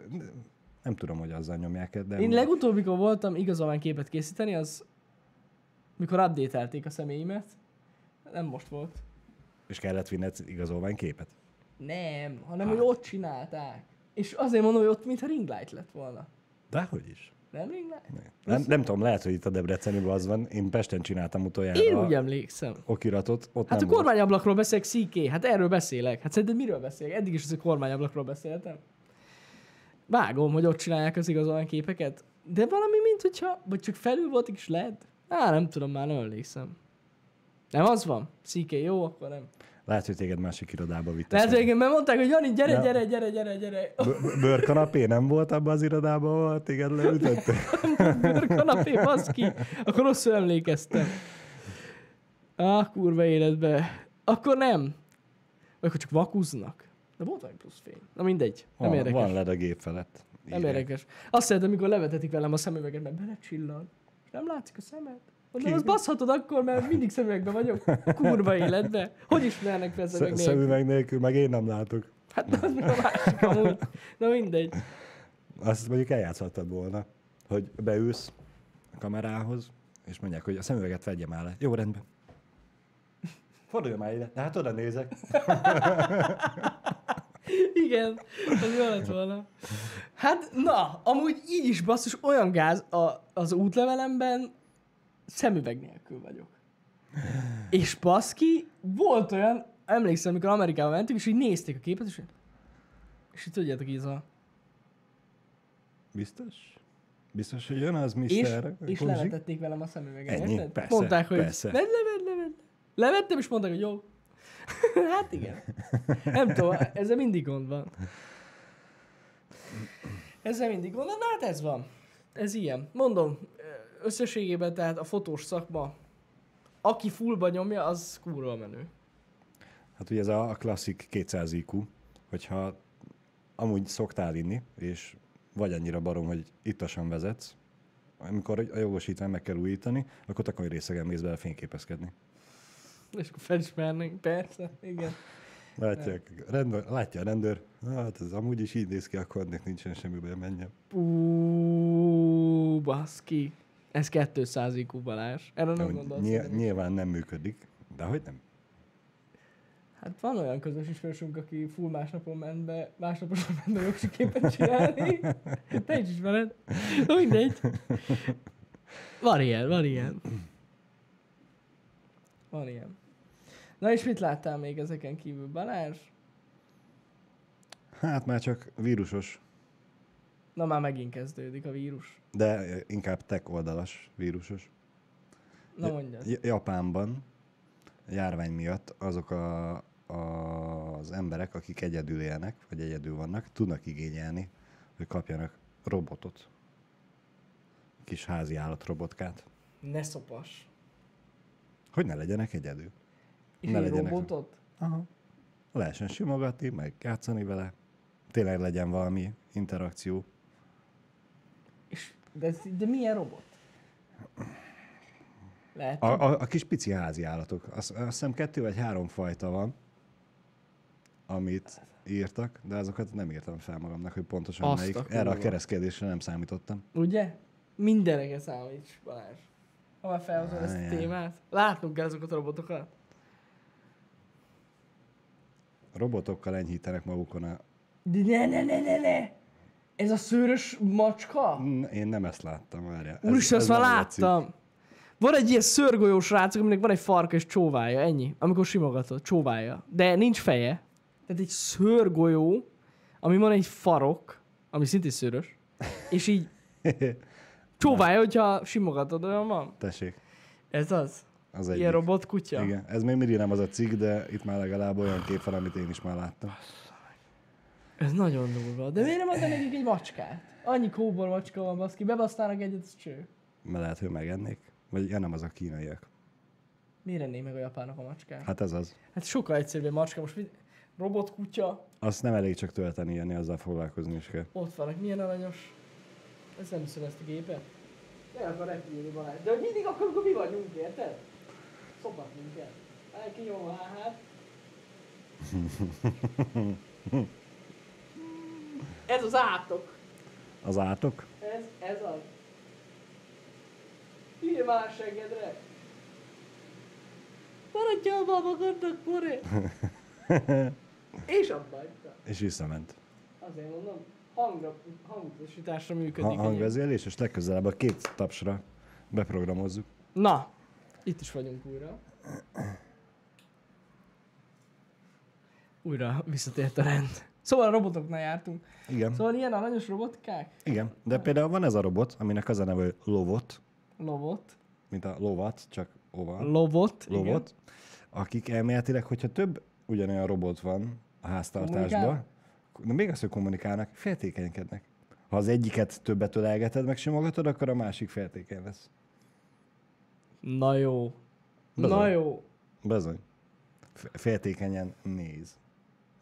Nem tudom, hogy azzal nyomják -e, de... Én legutóbb, mikor voltam igazolvány képet készíteni, az mikor updatelték a személyimet, nem most volt. És kellett vinned igazolványképet. Nem, hanem Hát. hogy ott csinálták. És azért mondom, hogy ott mintha ringlight lett volna. Dehogy is. Nem ringlight? Nem, nem tudom, lehet, hogy itt a Debrecenűben az van. Én Pesten csináltam utoljára Én a úgy emlékszem. okiratot. Ott Hát nem a kormányablakról beszélek, CK, hát erről beszélek. Hát szerinted miről beszélek? Eddig is az a kormányablakról beszéltem. Vágom, hogy ott csinálják az igazolán képeket. De valami, mint hogyha, vagy csak felül volt, és lehet. Á, nem tudom, már nem emlékszem. Nem az van? CK, jó, akkor nem. volt. Lehet, hogy téged másik irodába vitt. Lehet, hogy Lehet, igen, mert mondták, hogy Jani, gyere, Ja. gyere, gyere, gyere, gyere. Bőrkanapé nem volt abban az irodában, ahol téged leütöttek? Bőrkanapé, baszki. Akkor rosszul emlékeztem. Á, kurva életbe. Akkor nem. Vagy akkor csak vakuznak. De volt valami plusz fény. Na mindegy, nem Van, érdekes. Ah, van led a gép felett. nem Írják. érdekes. Azt szeretem, amikor levetetik velem a szemüveget, mert belecsillan. És nem látszik a szemed. Mondom, Ki? azt baszhatod akkor, mert mindig szemüvegben vagyok. Kurva életbe. Hogy ismernek fel Sze- szemüveg nélkül? Szemüveg nélkül, meg én nem látok. Hát az meg a másik amúgy. Na mindegy. Azt mondjuk eljátszhattad volna, hogy beülsz a kamerához, és mondják, hogy a szemüveget vegye már le. Jó, rendben. Fordulj már ide. De hát oda nézek. Igen, az jó lett volna. Hát na, amúgy így is basszus, olyan gáz a, az útlevelemben szemüveg nélkül vagyok. És baszki, volt olyan, emlékszem, amikor Amerikába mentünk, és így nézték a képet, és, és így tudjátok, így ez a... Biztos? Biztos, hogy jön az És, Mr. és Konzsi? levetették velem a szemüveget, Ennyi? érted? Persze, mondták, hogy persze. Leved, leved, leved. Levettem, és mondták, hogy jó. hát igen. Nem tudom, ezzel mindig gond van. Ezzel mindig gond van, de hát ez van. Ez ilyen. Mondom, összességében tehát a fotós szakma, aki fullba nyomja, az kurva menő. Hát ugye ez a a klasszik 200 IQ, hogyha amúgy szoktál inni, és vagy annyira barom, hogy ittasan vezetsz, amikor a jogosítvány meg kell újítani, akkor takony részegen mész bele fényképezkedni. És akkor felismernénk, persze, igen. Látják, rendőr, látja a rendőr, hát ez amúgy is így néz ki, akkor ennek nincsen semmiben menjem. Ú, baszki. Ez 200 IQ Balázs. Erre nem Hogy gondolsz. nyilván, hogy- nyilván nem működik, de hogy nem? Hát van olyan közös ismerősünk, aki full másnapon ment be, másnaposan ment be jogsiképet csinálni. Hát Te is ismered. Na Mindegy. Van ilyen, van ilyen. Van ilyen. Na és mit láttál még ezeken kívül, Balázs? Hát már csak vírusos, Na már megint kezdődik a vírus. de inkább tech oldalas vírusos. Na Ja, mondjad. J- Japánban a járvány miatt azok a, a, az emberek, akik egyedül élnek, vagy egyedül vannak, tudnak igényelni, hogy kapjanak robotot. Kis házi állatrobotkát. Ne szopas. Hogy ne legyenek egyedül. És Ne egy legyenek- robotot? Aha. Lehessen simogatni, meg játszani vele. Tényleg legyen valami interakció. És, de, ez, de milyen robot? Lehet. A, a, a kis pici házi állatok. Azt, azt hiszem kettő vagy három fajta van, amit írtak, de azokat nem írtam fel magamnak, hogy pontosan Azt melyik. a Erre a kurva. keresztkérdésre nem számítottam. Ugye? Mindenre kell számíts, Balázs. Ha már felhozod ezt a Ajaj. témát. Látnunk kell azokat a robotokat. Robotokkal enyhítenek magukon a... De ne, ne, ne, ne, ne! Ez a szőrös macska? N- Én nem ezt láttam, várjál. Ez- Úristen, ez azt már nem látszik. láttam. Van egy ilyen szörgolyós srácok, aminek van egy farka és csóvája, ennyi. Amikor simogatod, csóvája. De nincs feje. Tehát egy szörgolyó, ami van egy farok, ami szintén szőrös, és így csóvája, hogyha simogatod, olyan van. Tessék, Ez az. az egy. Ilyen robot kutya. Igen, ez még mindig nem az a cikk, de itt már legalább olyan kép van, amit én is már láttam. Ez nagyon durva. De miért nem adna nekik egy macskát? Annyi kóbor macska van, baszki. Bebasztálnak egyet, az cső. Mert lehet, hogy megennék. Vagy ja, nem az a kínaiak. Miért enné meg a japánok a macskát? Hát, Hát ez az. sokkal egyszerűbb egy macska. Most mit? robotkutya, Azt nem elég csak tölteni, jönni, azzal foglalkozni is kell. ott vannak. Milyen aranyos. Ez nem hiszem ezt a gépet. El akar repülni Balázs. De mindig akkor, amikor mi vagyunk, érted? Szopat minket. El kinyom a hát. Ez az átok. Az átok? Ez, ez az. Írj már a seggedre! Maradj abba magadnak, Boré! És abba hagyta. És visszament. Azért mondom, hangra, hangosításra Ha, működik. egyéb. hangvezérlés, és legközelebb a két tapsra beprogramozzuk. Na, itt is vagyunk újra. Újra visszatért a rend. Szóval a robotoknál jártunk. Igen. Szóval ilyen aranyos robotkák? Igen. De például van ez a robot, aminek az a neve, hogy lovot, Lovot. mint a lovat, csak oval. Lovot. igen. Lovot. Akik elméletileg, hogyha több ugyanolyan robot van a háztartásban. Kommunikál? De még az, hogy kommunikálnak, féltékenykednek. Ha az egyiket többet ölelgeted, meg simogatod, akkor a másik féltékeny lesz. Na jó. Bazd Na meg. jó. Bezony. F- Féltékenyen néz.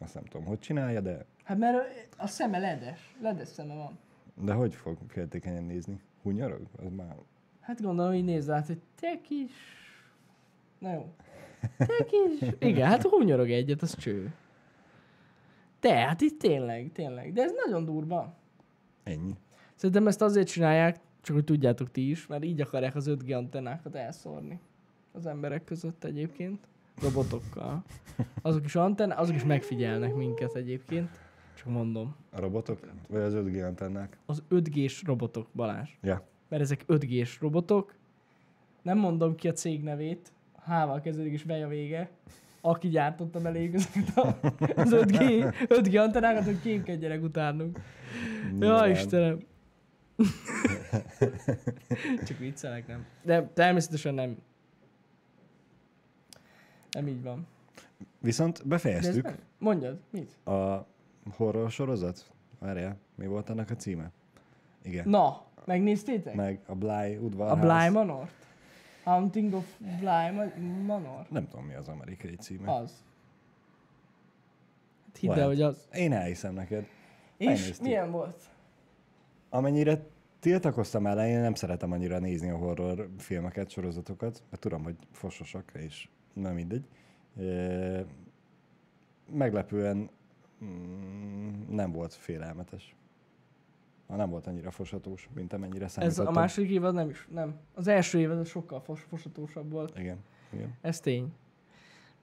Azt nem tudom, hogy csinálja, de, Hát mert a szeme ledes. Ledes szeme van. de hogy fog féltékenyen nézni? Hunyarog? Az már... Hát gondolom, így nézd át, hogy te kis... Na jó. Te kis... Igen, hát hunyorog egyet, az cső. Te, hát itt tényleg, tényleg. De ez nagyon durva. Ennyi. Szerintem ezt azért csinálják, csak hogy tudjátok ti is, mert így akarják az 5G antennákat elszórni az emberek között egyébként, robotokkal. Azok is antenn, azok is megfigyelnek minket egyébként, csak mondom. A robotok? Vagy az 5G antennák? Az 5G-s robotok, Balázs. Ja. Mert ezek 5G-s robotok. Nem mondom ki a cég nevét, hával kezdődik és bej a vége. Aki gyártotta belé ezeket a- az 5G, 5G antennákat, hogy kémkedjenek utánunk. Ja, Nyilván. Istenem. Csak viccelek, nem? De természetesen nem. Nem így van. Viszont De ez befejeztük nem. Mondjad, mit? a horror sorozat. Várjál, mi volt annak a címe? Igen. Na, megnéztétek? Meg a Bly a udvarház. Bly Manort? Hunting of Bly Ma- Manor? Nem tudom, mi az amerikai címe. Az. Hát hidd el, Lehet. hogy az. Én elhiszem neked. És Megnéztük. milyen volt? Amennyire tiltakoztam ellen, én nem szeretem annyira nézni a horror filmeket, sorozatokat, mert tudom, hogy fososak, és nem mindegy. E, meglepően mm, nem volt félelmetes. Ha Nem volt annyira fosatós, mint amennyire Ez számítottam. a második évad nem is, nem. Az első évad az sokkal fos, fosatósabb volt. Igen. Igen. Ez tény.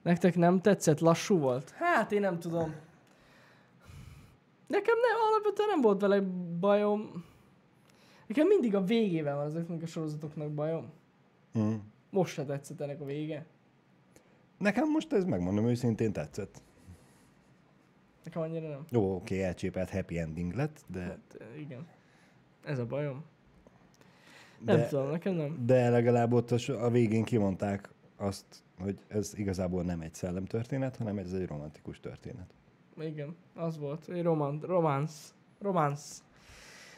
Nektek nem tetszett? Lassú volt? Hát én nem tudom. Nekem nem, alapvetően nem volt vele bajom. Nekem mindig a végével van ezeknek a sorozatoknak bajom. Mm. Most se tetszett ennek a vége. Nekem most ez, megmondom őszintén, tetszett. Nekem annyira nem. Jó, oké, elcsépelt happy ending lett, de, Hát, igen. Ez a bajom. Nem de, tudom, nekem nem. de legalább ott a, so- a végén kimondták azt, hogy ez igazából nem egy szellemtörténet, hanem ez egy romantikus történet. Igen, az volt. Egy román, románsz. Románsz.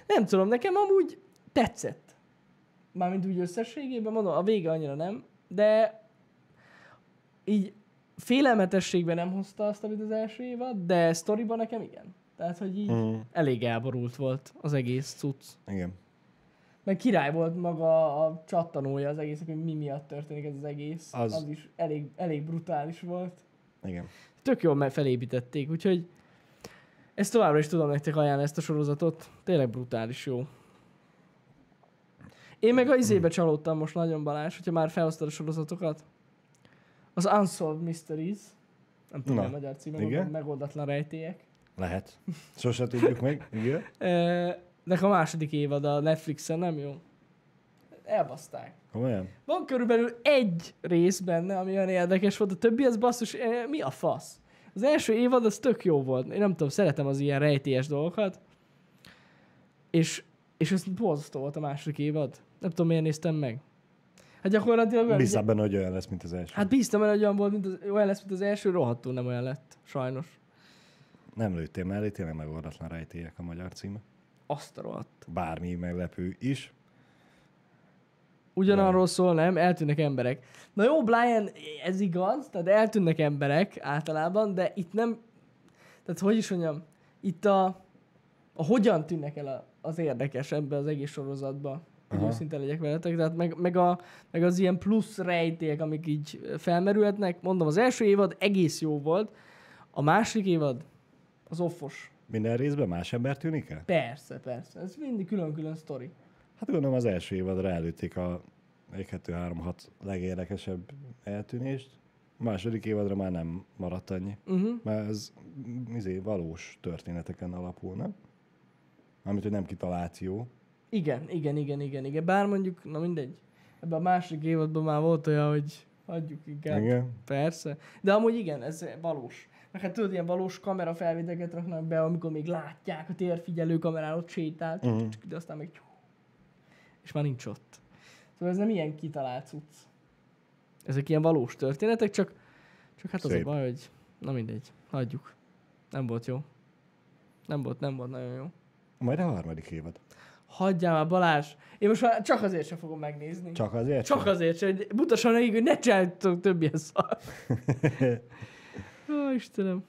Nem tudom, nekem amúgy tetszett. Mármint úgy összességében, mondom, a vége annyira nem, de így félelmetességben nem hozta azt, amit az első évad, de sztoriban nekem igen. Tehát, hogy így Mm. elég elborult volt az egész cucc. Igen. Meg király volt maga a csattanója az egésznek, hogy mi miatt történik ez az egész. Az, Az- az is elég, elég brutális volt Igen. tök jól me- felépítették, úgyhogy ezt továbbra is tudom nektek ajánlani ezt a sorozatot. Tényleg brutális jó. Én meg a Hmm. izébe csalódtam most nagyon Balázs, hogyha már felhoztad a sorozatokat. Az Unsolved Mysteries. Nem tudom, Na, mi a magyar címe, igen. gondolom, megoldatlan rejtélyek. Lehet. Sose tudjuk meg. Igen. Ö, Nek a második évad a Netflixen, nem jó? Elbaszták. Komolyan? Van körülbelül egy rész benne, ami olyan érdekes volt, a többi az basszus, eh, mi a fasz? Az első évad az tök jó volt. Én nem tudom, szeretem az ilyen rejtélyes dolgokat. És, és ez borzasztó volt a második évad. Nem tudom, miért néztem meg. Hát gyakorlatilag olyan, Bízzál benne, hogy olyan lesz, mint az első. hát bíztam el, hogy olyan, volt, mint az, olyan lesz, mint az első, rohadtul nem olyan lett. Sajnos. Nem lőttél mellé, tényleg megoldatlan rejtélyek a magyar címe. Azt a rohadt. Bármi meglepő is. Ugyanarról szól, nem? Eltűnnek emberek. Na jó, Brian, ez igaz, tehát eltűnnek emberek általában, de itt nem... Tehát hogy is mondjam, itt a, a hogyan tűnnek el a, az érdekes ebbe az egész sorozatba, hogy Aha. őszinte legyek veletek, tehát meg, meg, a, meg az ilyen plusz rejtélyek, amik így felmerülhetnek. Mondom, az első évad egész jó volt, a másik évad az offos. Minden részben más ember tűnik el? Persze, persze. Ez mindig külön-külön sztori. Hát gondolom az első évadra előtték a 1, 2, 3, 6 legérdekesebb eltűnést. A második évadra már nem maradt annyi. Uh-huh. Mert ez mm, izé, valós történeteken alapul, nem? Amit, hogy nem kitaláció. Igen, igen, igen, igen, igen. Bár mondjuk, na mindegy. Ebben a másik évadban már volt olyan, hogy adjuk inkább. Igen. Igen. Persze. De amúgy igen, ez valós. Meg hát tudod, ilyen valós kamerafelvételeket raknak be, amikor még látják a térfigyelő kamerán ott sétált, Mhm. de aztán még és már nincs ott. Szóval ez nem ilyen kitalált cucc. Ezek ilyen valós történetek, csak, csak hát az Szép. a baj, hogy Na mindegy, hagyjuk. Nem volt jó. Nem volt, nem volt nagyon jó. Majd a harmadik évad. Hagyjál már Balázs! Én most már csak azért sem fogom megnézni. Csak azért? Csak azért, sem, hogy mutasson nekik, hogy ne csináljatok több ilyen szar. Ó, Istenem.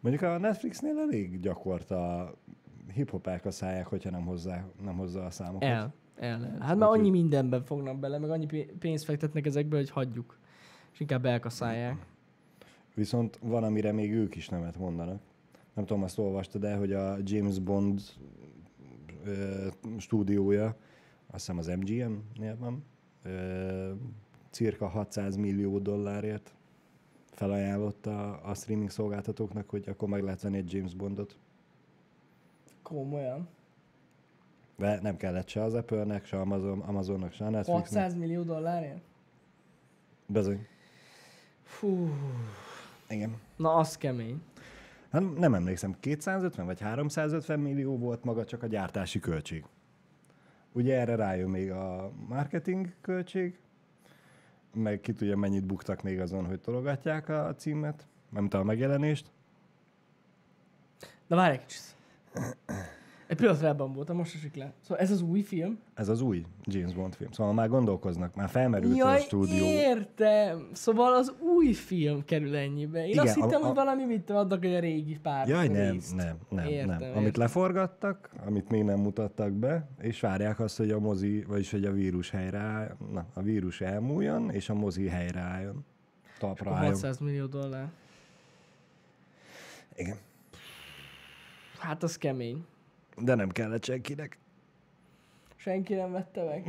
Mondjuk a Netflixnél elég gyakorta hip-hop elkaszálják, hogyha nem, hozzá, nem hozza a számokat. El, el, el. Hát már annyi mindenben fognak bele, meg annyi pé- pénzt fektetnek ezekbe, hogy hagyjuk. És inkább elkaszálják. Viszont van, amire még ők is nemet mondanak. Nem tudom, azt olvastad el, hogy a James Bond ö, stúdiója, azt hiszem az MGM-nél van, ö, cirka 600 millió dollárért felajánlotta a streaming szolgáltatóknak, hogy akkor meg lehet venni egy James Bondot. Komolyan. De nem kellett se az Apple-nek, se Amazon, Amazonnak, se a Hát Netflixnek. 600 millió dollárért? Bizony. Fú. Igen. Na, az kemény. Hát nem emlékszem, 250 vagy 350 millió volt maga csak a gyártási költség. Ugye erre rájön még a marketing költség, meg ki tudja mennyit buktak még azon, hogy tologatják a címet, nem a megjelenést. Na, várj egy kicsit. Egy pillanatra ebben voltam, most esik le. Szóval ez az új film. Ez az új James Bond film. Szóval már gondolkoznak, már felmerült a stúdió. értem! Szóval az új film kerül ennyibe. Én Igen, Igen, azt hittem, a- hogy a- valami mit adnak, hogy a régi pár Jaj, nem, részt. nem, nem, Hát Értem, nem. értem. Amit leforgattak, amit még nem mutattak be, és várják azt, hogy a mozi, vagyis hogy a vírus helyreáll, na, a vírus elmúljon, és a mozi helyreálljon. Talpra Akkor álljon. 600 millió dollár. Igen. Hát az kemény. De nem kellett senkinek. Senki nem vette meg.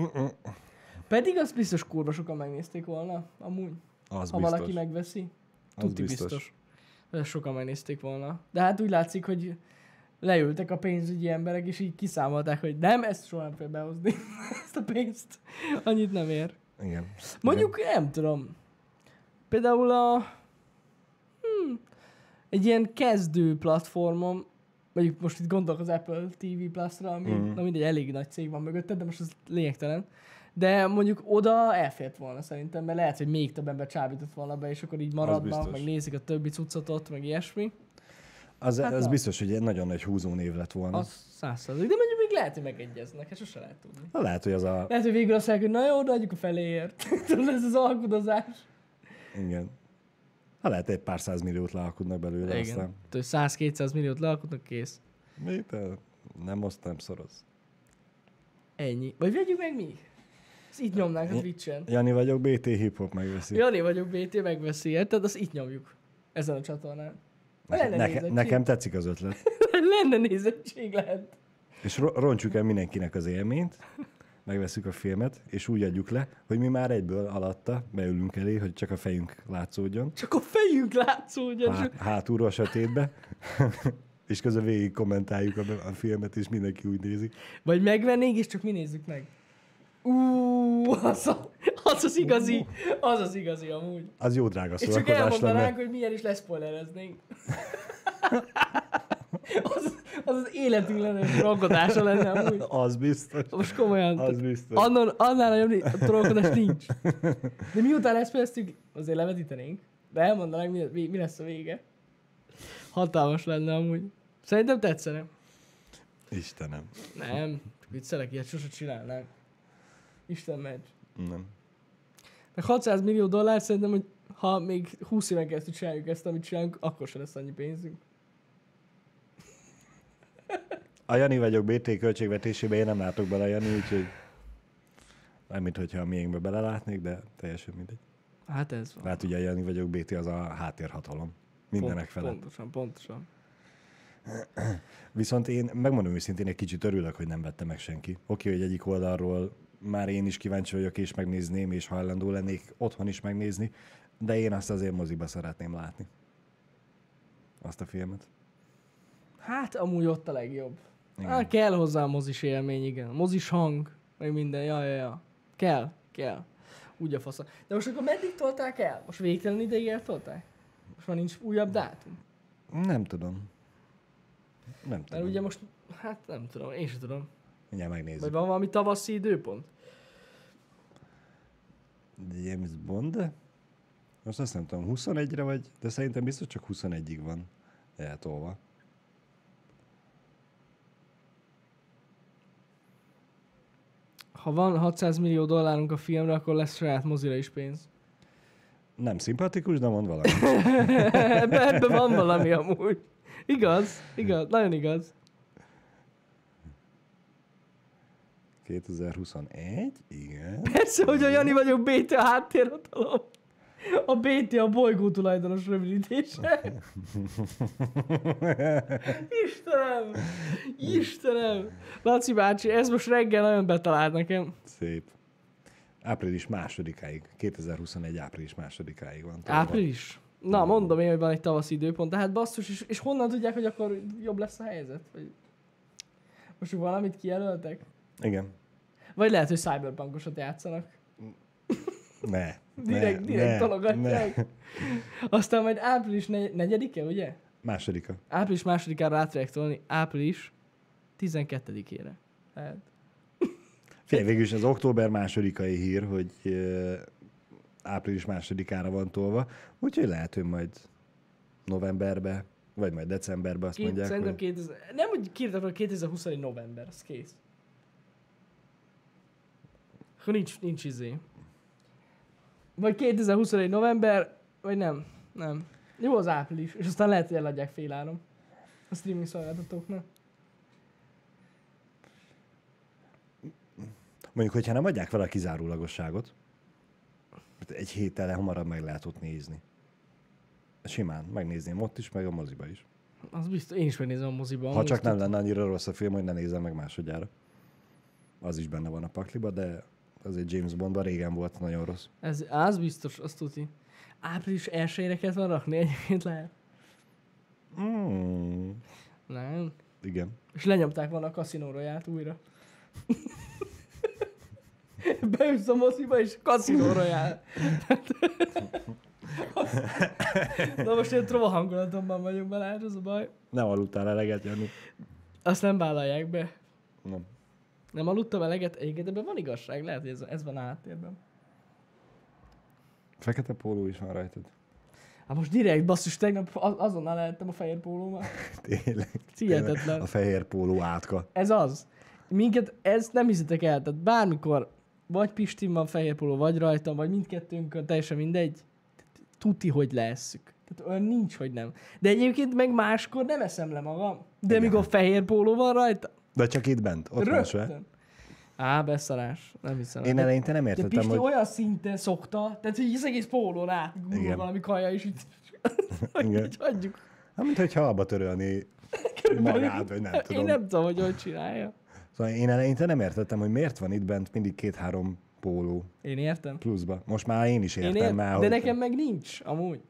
Pedig azt biztos kurva sokan megnézték volna, amúgy. Az ha biztos. valaki megveszi. Az Tuti biztos. biztos. biztos. Sokan megnézték volna. De hát úgy látszik, hogy leültek a pénzügyi emberek, és így kiszámolták, hogy nem, ezt soha nem fél behozni, ezt a pénzt. Annyit nem ér. Igen. Mondjuk nem tudom. Például a... Hmm, egy ilyen kezdő platformon, mondjuk most itt gondolok az Apple TV Plus-ra, ami Mhm. mm. na mindegy, elég nagy cég van mögötte, de most az lényegtelen. De mondjuk oda elfért volna szerintem, mert lehet, hogy még több ember csábított volna be, és akkor így maradnak, biztos. meg nézik a többi cuccot ott, meg ilyesmi. Igen. Az, Hát hát az na. biztos, hogy egy nagyon nagy húzó név lett volna. Az százszerzék. De mondjuk még lehet, hogy megegyeznek, ezt sose lehet tudni. Na, lehet, hogy az a... Lehet, hogy végül azt mondják, hogy na jó, de adjuk a feléért. Tudod, ez az alkudozás. Igen. Ha lehet, egy pár százmilliót lealkudnak belőle, Igen. aztán... Igen. 100-200 milliót lealkotnak, kész. Mit? Nem oszt, nem szoroz. Ennyi. Vagy vegyük meg mi? Ezt itt nyomnánk a Ja. Twitch-en. Jani vagyok, BT Hip-Hop megveszi. Jani vagyok, BT megveszi, érted? Azt itt nyomjuk. Ezen a csatornán. Neke, lenne neke, nézettség. nekem tetszik az ötlet. Lenne nézettség lehet. És ro- rontjuk el mindenkinek az élményt, megveszük a filmet, és úgy adjuk le, hogy mi már egyből alatta beülünk elé, hogy csak a fejünk látszódjon. Csak a fejünk látszódjon. Há- hátulról a sötétbe. és közben végig kommentáljuk a, be- a filmet, és mindenki úgy nézi. Vagy megvennénk, és csak mi nézzük meg. Ú, az, a, az az igazi, az az igazi amúgy. Az jó drága És csak szórakozás elmondanánk, lenne. hogy milyen is leszpoilereznénk. az, az az életünk lenne, és ragodása lenne amúgy. Az biztos. Most komolyan. Az biztos. Annan, annál nagyobb ni- trollkodás nincs. De miután ezt fejeztük, azért levetítenénk. De elmondanánk, mi, mi- mi lesz a vége. Hatalmas lenne amúgy. Szerintem tetszene. Istenem. Nem, csak viccelek, ilyet sose csinálnánk. Isten megy. Nem. Meg 600 millió dollár szerintem, hogy ha még 20 éven keresztül csináljuk ezt, amit csinálunk, akkor sem lesz annyi pénzünk. A Jani vagyok BT költségvetésébe, én nem látok bele, Jani, úgyhogy nem, mint hogyha a miénkbe belelátnék, de teljesen mindegy. Hát ez van. Hát ugye a Jani vagyok BT az a háttérhatalom. Mindenek Pont- felett. Pontosan, pontosan. Viszont én megmondom őszintén, egy kicsit örülök, hogy nem vette meg senki. Oké, hogy egyik oldalról már én is kíváncsi vagyok, és megnézném, és hajlandó lennék otthon is megnézni, de én azt azért moziba szeretném látni. Azt a filmet. Hát amúgy ott a legjobb. Igen. Hát kell hozzá a mozis élmény, igen. Mozis hang, meg minden, ja, ja, ja. Kell, kell. Úgy a fasz. De most akkor meddig tolták el? Most végtelen ideig eltolták? Most már nincs újabb dátum? Nem tudom. Nem Mert tudom. ugye most, hát nem tudom, én sem tudom. Mindjárt megnézzük. Vagy van valami tavaszi időpont? James Bond? Most azt nem tudom, 21-re vagy, de szerintem biztos csak 21-ig van eltolva. Ha van 600 millió dollárunk a filmre, akkor lesz saját mozira is pénz. Nem szimpatikus, de mond valami. Ebben ebbe van valami amúgy. Igaz, igaz, nagyon igaz. 2021? Igen. Persze, hogy a Jani vagyok BT a háttérhatalom. A BT a bolygó tulajdonos rövidítése. Istenem! Istenem! Laci bácsi, ez most reggel nagyon betalált nekem. Szép. Április másodikáig, 2021 április másodikáig van. tolva. Április? Na, mondom én, hogy van egy tavaszi időpont, de hát basszus, és, és honnan tudják, hogy akkor jobb lesz a helyzet? Vagy... Most valamit kijelöltek? Igen. Vagy lehet, hogy cyberbankosat játszanak. Ne. Direkt, ne, direkt ne, tologatják. ne. Aztán majd április negy- negyedike, ugye? Másodika. Április másodikára át fogják tolni, április 12-ére. Hát. Fél végül is az október másodikai hír, hogy ö, április másodikára van tolva, úgyhogy lehet, hogy majd novemberbe, vagy majd decemberbe azt Két, mondják, szerintem hogy 2000, nem úgy kérdez, hogy 2021 november, az kész. Akkor nincs, nincs izé. Vagy 2021 november, vagy nem, nem. Jó az április, és aztán lehet, hogy eladják fél áron. A streaming szolgáltatóknak. mondjuk, hogyha nem adják vele a kizárólagosságot, egy héttel hamarabb meg lehet ott nézni. Simán, megnézném ott is, meg a moziba is. Az biztos, én is megnézem a moziban. Ha csak nem lenne annyira rossz a film, hogy ne nézzem meg másodjára. Az is benne van a pakliba, de azért James Bondban régen volt nagyon rossz. Ez, az biztos, azt tudni. Április 1-ére kellett van rakni, egyébként lehet. Mm, Nem. igen. És lenyomták volna a Casino royale újra. Beülsz a moziba és Casino Royale. Na most én trova hangulatomban vagyok Balázs, az a baj. Nem aludtál eleget, Jani? Azt nem vállalják be. Nem. Nem aludtam eleget, egyébként ebben van igazság, lehet, hogy ez, ez van a háttérben. Fekete póló is van rajtad. Hát most direkt, basszus, tegnap a- azonnal lehettem a fehér pólóma. Tényleg. Hihetetlen. A fehér póló átka. Ez az. Minket, ezt nem hiszitek el, tehát bármikor vagy Pistin van fehér póló, vagy rajtam, vagy mindkettőnkön, teljesen mindegy, tuti, hogy leesszük. Tehát olyan nincs, hogy nem. De egyébként meg máskor nem eszem le magam. De Igen. míg a fehér póló van rajta, De csak itt bent, ott van se. rögtön. Á, beszarás. Nem hiszem. Én eleinte nem de értettem, Pisti hogy... olyan szinten szokta, tehát hogy az egész pólón át gurul Igen. valami kaja, és így, hogy Igen. így hagyjuk. Hát, mint hogyha abba törölni magát, vagy nem Én tudom. nem tudom, hogy hogy csinálja. Szóval én eleinte nem értettem, hogy miért van itt bent mindig két-három póló Én értem. pluszba. Most már én is értem, Én ért, már, de hogy- nekem meg nincs, amúgy.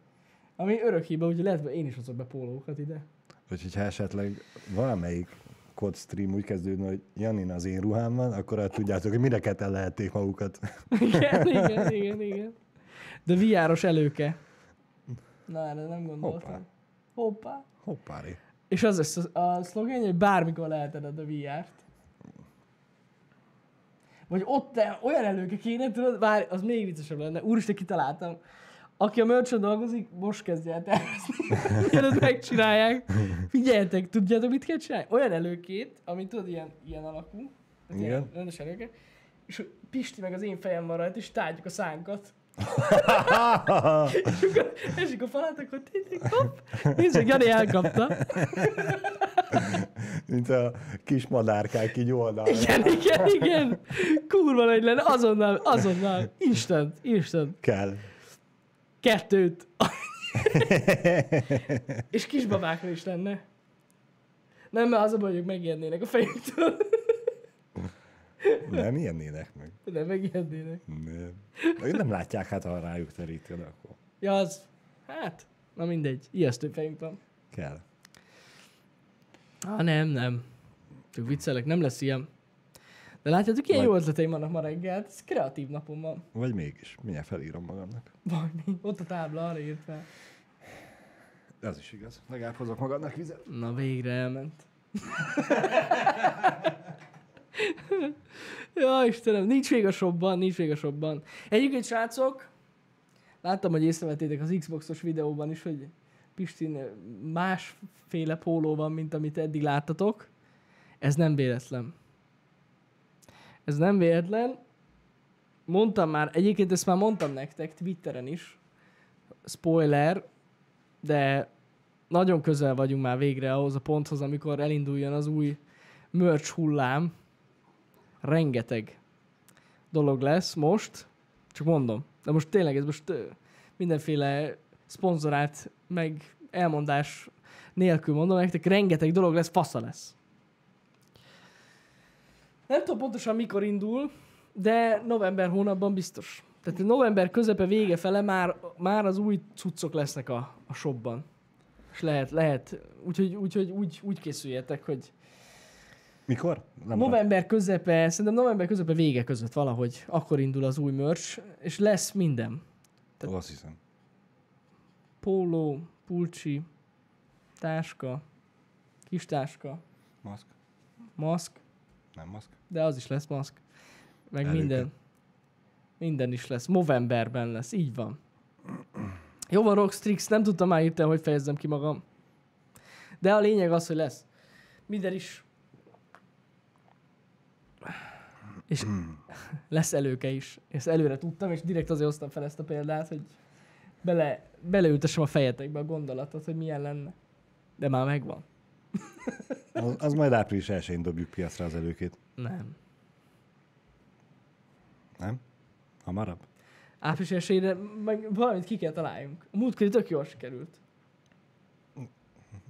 Ami örök hiba, úgyhogy lehet, hogy én is hozok be pólókat ide. Úgyhogy ha esetleg valamelyik kod stream úgy kezdődne, hogy Janin az én ruhám van, akkor hát tudjátok, hogy mire ketten lehették magukat. Igen, igen, igen, igen. De viáros előke. Na, erre nem gondoltam. Hoppá. Hoppá. Hoppá. Hoppári. És az lesz a, a szlogen, hogy bármikor leheted a VR-t. Vagy ott te olyan előke kéne, tudod, vár, az még viccesebb lenne. Úristen, kitaláltam. Aki a merchon dolgozik, most kezdje el tervezni. Mielőtt megcsinálják. Figyeljetek, tudjátok, mit kell csinálni? Olyan előkét, amit tudod, ilyen, ilyen alakú. Tehát Ilyen Igen. rendes előke. És Pisti meg az én fejem van rajta, és tárgyuk a szánkat. És akkor esik a falát, akkor tényleg, hopp, nézzük, Jani elkapta. Mint a kis madárkák így oldalra. Igen, igen, igen. Kurva nagy lenne, azonnal, azonnal. Instant, instant. Kell. Kettőt. És kisbabákra is lenne. Nem, mert az a baj, hogy ők megijednének a fejüktől. Nem ilyennének meg. Nem, megijednének. Nem. Ők nem látják hát, ha rájuk teríted, akkor Ja, az, hát, na mindegy, ijesztő fejünk van. kell. Á, nem, nem. Csak viccelek, nem lesz ilyen. De látjátok, ilyen Majd- jó ötleteim vannak ma reggel, ez kreatív napom van. Vagy mégis. Mindjárt felírom magamnak. Valami, ott a tábla, arra írt fel. Ez is igaz. Legalább hozok magadnak vizet. Na végre elment. ja, Istenem, nincs vég a shopban, nincs vég a shopban. Egyébként, srácok, Láttam, hogy észrevettétek az Xboxos videóban is, hogy Pistin másféle póló van, mint amit eddig láttatok. Ez nem véletlen. Ez nem véletlen. Mondtam már, egyébként ezt már mondtam nektek Twitteren is. Spoiler, de nagyon közel vagyunk már végre ahhoz a ponthoz, amikor elinduljon az új merch hullám. Rengeteg dolog lesz most, csak mondom. De most tényleg ez most ö, mindenféle szponzorát, meg elmondás nélkül mondom nektek, rengeteg dolog lesz, fasza lesz. Nem tudom pontosan mikor indul, de november hónapban biztos. Tehát november közepe vége fele már, már az új cuccok lesznek a, a shopban. És lehet, lehet. Úgyhogy úgyhogy úgy, úgy készüljetek, hogy Mikor? Nem tudom. november közepe, szerintem november közepe vége között valahogy, akkor indul az új merch, és lesz minden. Ó, Azt hiszem. Póló, pulcsi, táska, kis táska, Maszk? maszk, Nem maszk? de az is lesz maszk. Meg Előke. minden. Minden is lesz. Movemberben lesz. Így van. Jó van, Rockstrix, nem tudtam már írteni, hogy fejezzem ki magam. De a lényeg az, hogy lesz. Minden is. És lesz előke is. Ezt előre tudtam, és direkt azért hoztam fel ezt a példát, hogy bele, beleültessem a fejetekbe a gondolatot, hogy milyen lenne. De már megvan. Az, az majd április 1-én dobjuk piacra az előkét. Nem. Nem? Hamarabb? április elsőjére meg valamit ki kell találjunk. A múltkori tök jól sikerült.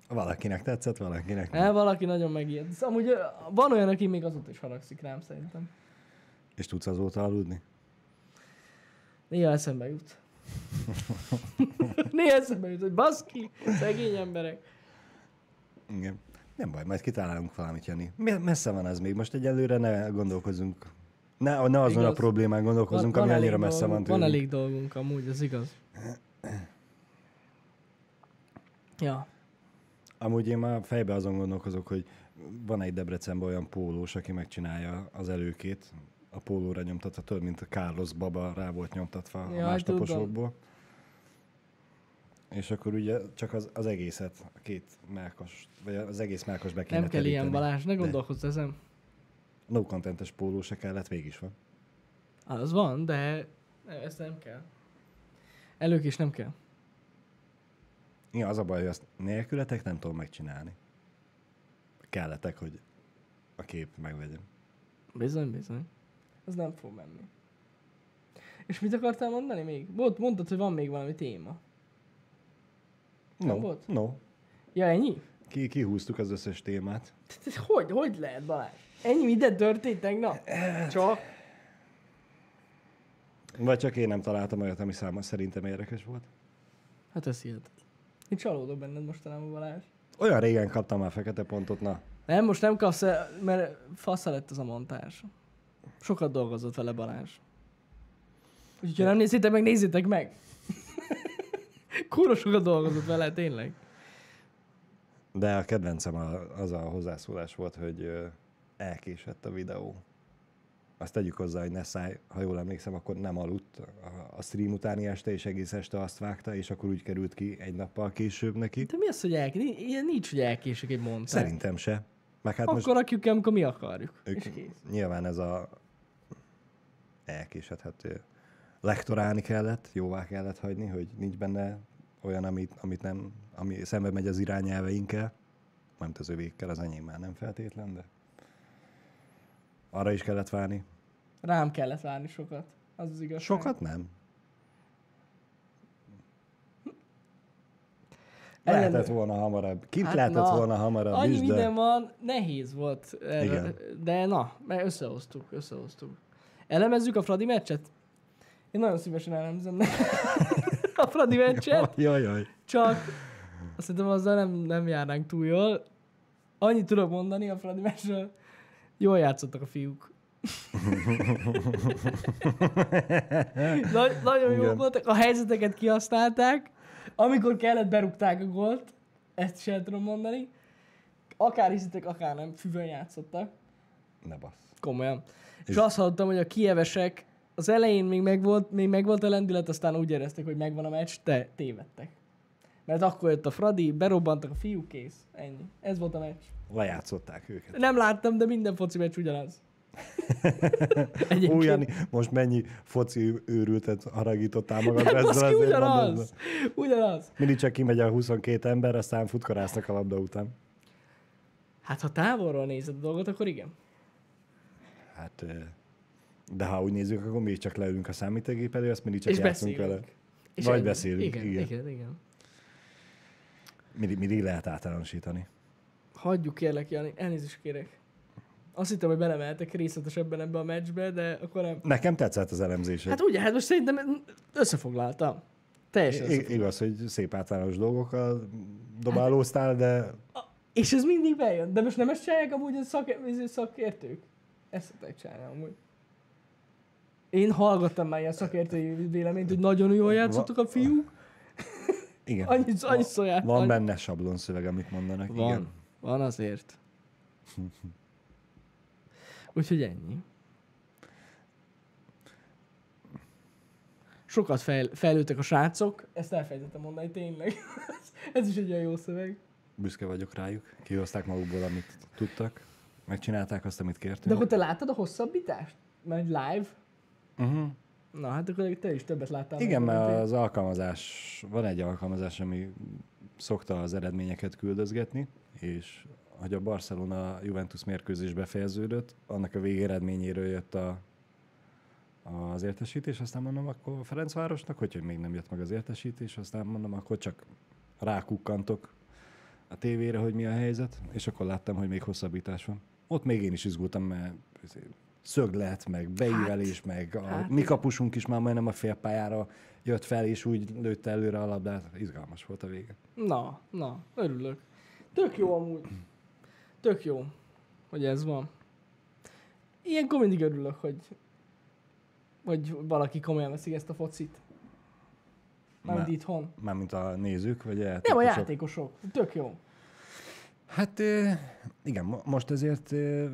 Valakinek tetszett, valakinek nem. El valaki nagyon megijedt. Szóval Amúgy ö, van olyan, aki még azóta is haragszik rám szerintem. És tudsz azóta aludni? Néha eszembe jut. Néha eszembe jut, hogy baszki, szegény emberek. Igen. Nem baj, majd kitalálunk valamit, Jani. Me- messze van ez még, most egyelőre ne gondolkozunk. Ne, ne azon a Igaz. problémán gondolkozunk, ami elég annyira messze van dolgunk, van tőlünk. elég dolgunk amúgy, az igaz. Ja. Amúgy én már fejbe azon gondolkozok, hogy van egy Debrecenben olyan pólós, aki megcsinálja az előkét, a pólóra nyomtatva, tudod, mint a Carlos Baba rá volt nyomtatva Jaj, a másnaposokból. tudom. És akkor ugye csak az, az egészet, a két melkos, vagy az egész melkos be kéne Nem kell ilyen teríteni. Balázs, ne De. gondolkozz ezen. No contentes póló se kellett, végig is van. Á, Az van, de ezt nem kell. Elők is nem kell. Igen, az a baj, hogy azt nélkületek nem tudom megcsinálni. Kelletek, hogy a kép megvegyem. Bizony, bizony. Ez nem fog menni. És mit akartál mondani még? Volt, mondtad, hogy van még valami téma. Nem No, volt? no. Ja, ennyi? Ki, kihúztuk az összes témát. Tehát ez Hogy, hogy lehet, Balázs? Ennyi minden történt tegnap? Csak? Vagy csak én nem találtam olyat, ami száma szerintem érdekes volt. Hát ez hihet. Én csalódok benned mostanában, Balázs. Olyan régen kaptam már fekete pontot, na. Nem, most nem kapsz el, mert fasza lett az a montás. Sokat dolgozott vele Balázs. Úgyhogy ha nem nézitek meg, nézzétek meg! Kurva sokat dolgozott vele, tényleg. De a kedvencem a- az a hozzászólás volt, hogy ö, elkésett a videó. Azt tegyük hozzá, hogy Nessáj, ha jól emlékszem, akkor nem aludt a- a stream utáni este, és egész este azt vágta, és akkor úgy került ki egy nappal később neki. De mi az, hogy elk... ni- Ilyen nincs, hogy elkésik egy montás. Szerintem se. Meg hát Hát most akkor rakjuk ki, amikor mi akarjuk. Ők- És kész. nyilván ez a elkésedhető. Lektorálni kellett, jóvá kellett hagyni, hogy nincs benne olyan, amit, amit nem, ami szembe megy az irányelveinkkel. Nem az övékkel, az enyém már nem feltétlen, de arra is kellett várni. Rám kellett várni sokat. Az az igazság. Sokat nem. Ellen- Lehetett volna hamarabb. Kint Hát hát lehetett na, volna hamarabb Annyi is, de... minden van, nehéz volt. Erre, Igen. de na, mert összehoztuk, összehoztuk. Elemezzük a Fradi meccset? Én nagyon szívesen elemzem a Fradi meccset, Jaj, jaj. csak azt szerintem azzal nem, nem járnánk túl jól. Annyit tudok mondani a Fradi meccsről. Jól játszottak a fiúk. Nagy, nagyon jók Igen. voltak, a helyzeteket kihasználták, amikor kellett, berúgták a gólt, ezt sem tudom mondani. Akár hiszitek, akár nem, füvön játszottak, Ne bassz. komolyan. És, És- azt hallottam, hogy a kievesek az elején még megvolt, még megvolt a lendület, aztán úgy érezték, hogy megvan a meccs, te tévedtek. Mert akkor jött a Fradi, berobbantak a fiú, kész. Ennyi. Ez volt a meccs. Lejátszották őket. Nem láttam, de minden foci meccs ugyanaz. Ó, Jani, most mennyi foci őrültet haragítottál magad Nem, baszki, ugyanaz. Ugyanaz. Mindig csak kimegy a 22 ember, aztán futkarásznak a labda után. Hát ha távolról nézed a dolgot, akkor igen. Hát, ö, de ha úgy nézzük, akkor mi csak leülünk a számítógép elé, azt mindig csak és játszunk beszélünk. vele. Vagy ennyi. beszélünk, Igen, igen. igen, igen, igen. Mindig, mindig lehet általánosítani. Hagyjuk kérlek, Jani, elnézést kérek. Azt hittem, hogy belemeltek részletesebben ebbe a meccsbe, de akkor nem. Nekem tetszett az elemzésed. Hát ugye, hát most szerintem összefoglaltam. Teljesen I- összefoglaltam. igaz, hogy szép általános dolgokkal dobálóztál, de És ez mindig bejön. De most nem ezt csinálják amúgy a szak, ez- ez szakértők? Ezt szokták csinálni amúgy. Én hallgattam már ilyen szakértői véleményt, hogy nagyon jól játszottak a fiúk. igen. Annyit, annyiszor járt. Van annyi- benne sablonszöveg, amit mondanak. Van. Igen. Van azért. Úgyhogy ennyi. Sokat fejl- fejlődtek a srácok, ezt elfelejtettem mondani, tényleg. Ez is egy olyan jó szöveg. Büszke vagyok rájuk. Kihozták magukból, amit tudtak. Megcsinálták azt, amit De kértünk. akkor te láttad a hosszabbítást? Mert live? Uh-huh. Na, hát akkor te is többet láttál. Igen, meg, mert mint én. az alkalmazás, van egy alkalmazás, ami szokta az eredményeket küldözgetni, és hogy a Barcelona-Juventus mérkőzés befejeződött, annak a végeredményéről jött a, az értesítés, aztán mondom, akkor Ferencvárosnak, hogy, hogy még nem jött meg az értesítés, aztán mondom, akkor csak rákukkantok a tévére, hogy mi a helyzet, és akkor láttam, hogy még hosszabbítás van. Ott még én is izgultam, mert izé szöglet, meg beívelés, hát, meg a hát hát, mi kapusunk is már majdnem a félpályára jött fel, és úgy lőtte előre a labdát. Izgalmas volt a vége. Na, na, örülök. Tök jó amúgy. Tök jó, hogy ez van. Ilyenkor mindig örülök, hogy, hogy valaki komolyan veszik ezt a focit. Mármint Már- itthon. Mármint a nézők, vagy a Nem, a játékosok. játékosok. Tök jó. Hát ö, igen, mo- most ezért ö,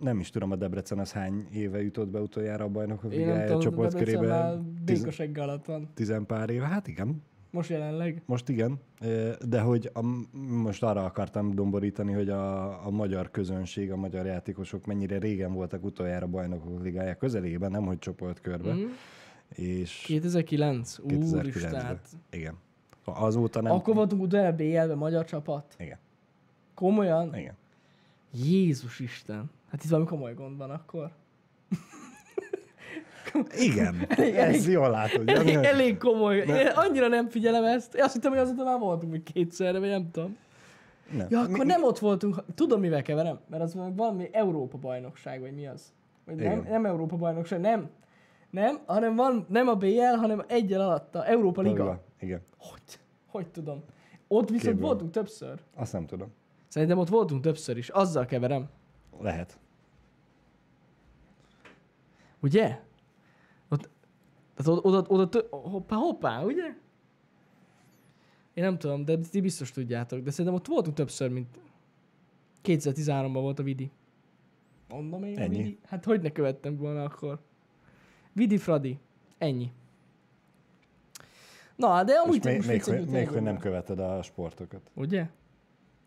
nem is tudom, a Debrecen az hány éve jutott be utoljára a bajnokok Én nem ligája tudom, csoport Debrecen már körében. Tiz, békosegg alatt van. tizen pár éve, hát igen, Most jelenleg. most igen, ö, de hogy a, most arra akartam domborítani, hogy a, a magyar közönség, a magyar játékosok mennyire régen voltak utoljára bajnokok ligája közelében, nem hogy csoportkörben, mm. Mm. és 2009. 2009-ben. Úristen. hát. igen. A- Azóta nem... Akkor voltunk utána BL-be magyar csapat. Igen, Komolyan? igen. Jézus Isten. Hát itt valami komoly gond van akkor. Igen, ez jól látod. Elég, Jani, hogy- elég komoly. Én annyira nem figyelem ezt. Én azt hittem, hogy azóta már voltunk még kétszerre, vagy nem tudom. Nem. Ja, akkor nem ott voltunk. Tudom, mivel keverem, mert az valami Európa bajnokság, vagy mi az? Vagy nem, Igen. nem Európa bajnokság, nem. Nem, hanem van, nem a BL, hanem egyel alatta, Európa Liga. Igen, Hogy? Hogy tudom? Ott viszont Képben. voltunk többször. azt nem tudom. Szerintem ott voltunk többször is, azzal keverem. Lehet. Ugye? Ott, tehát oda, oda, oda tö- hoppá, hoppá, ugye? Én nem tudom, de ti biztos tudjátok, de szerintem ott voltunk többször, mint 2013-ban volt a Vidi. Mondom én Ennyi. a Vidi. Hát hogy ne követtem volna akkor? Vidi Fradi. Ennyi. Na, de amúgy És még, most még, viccelünk hogy, még, hogy tényleg. nem követed a sportokat. Ugye?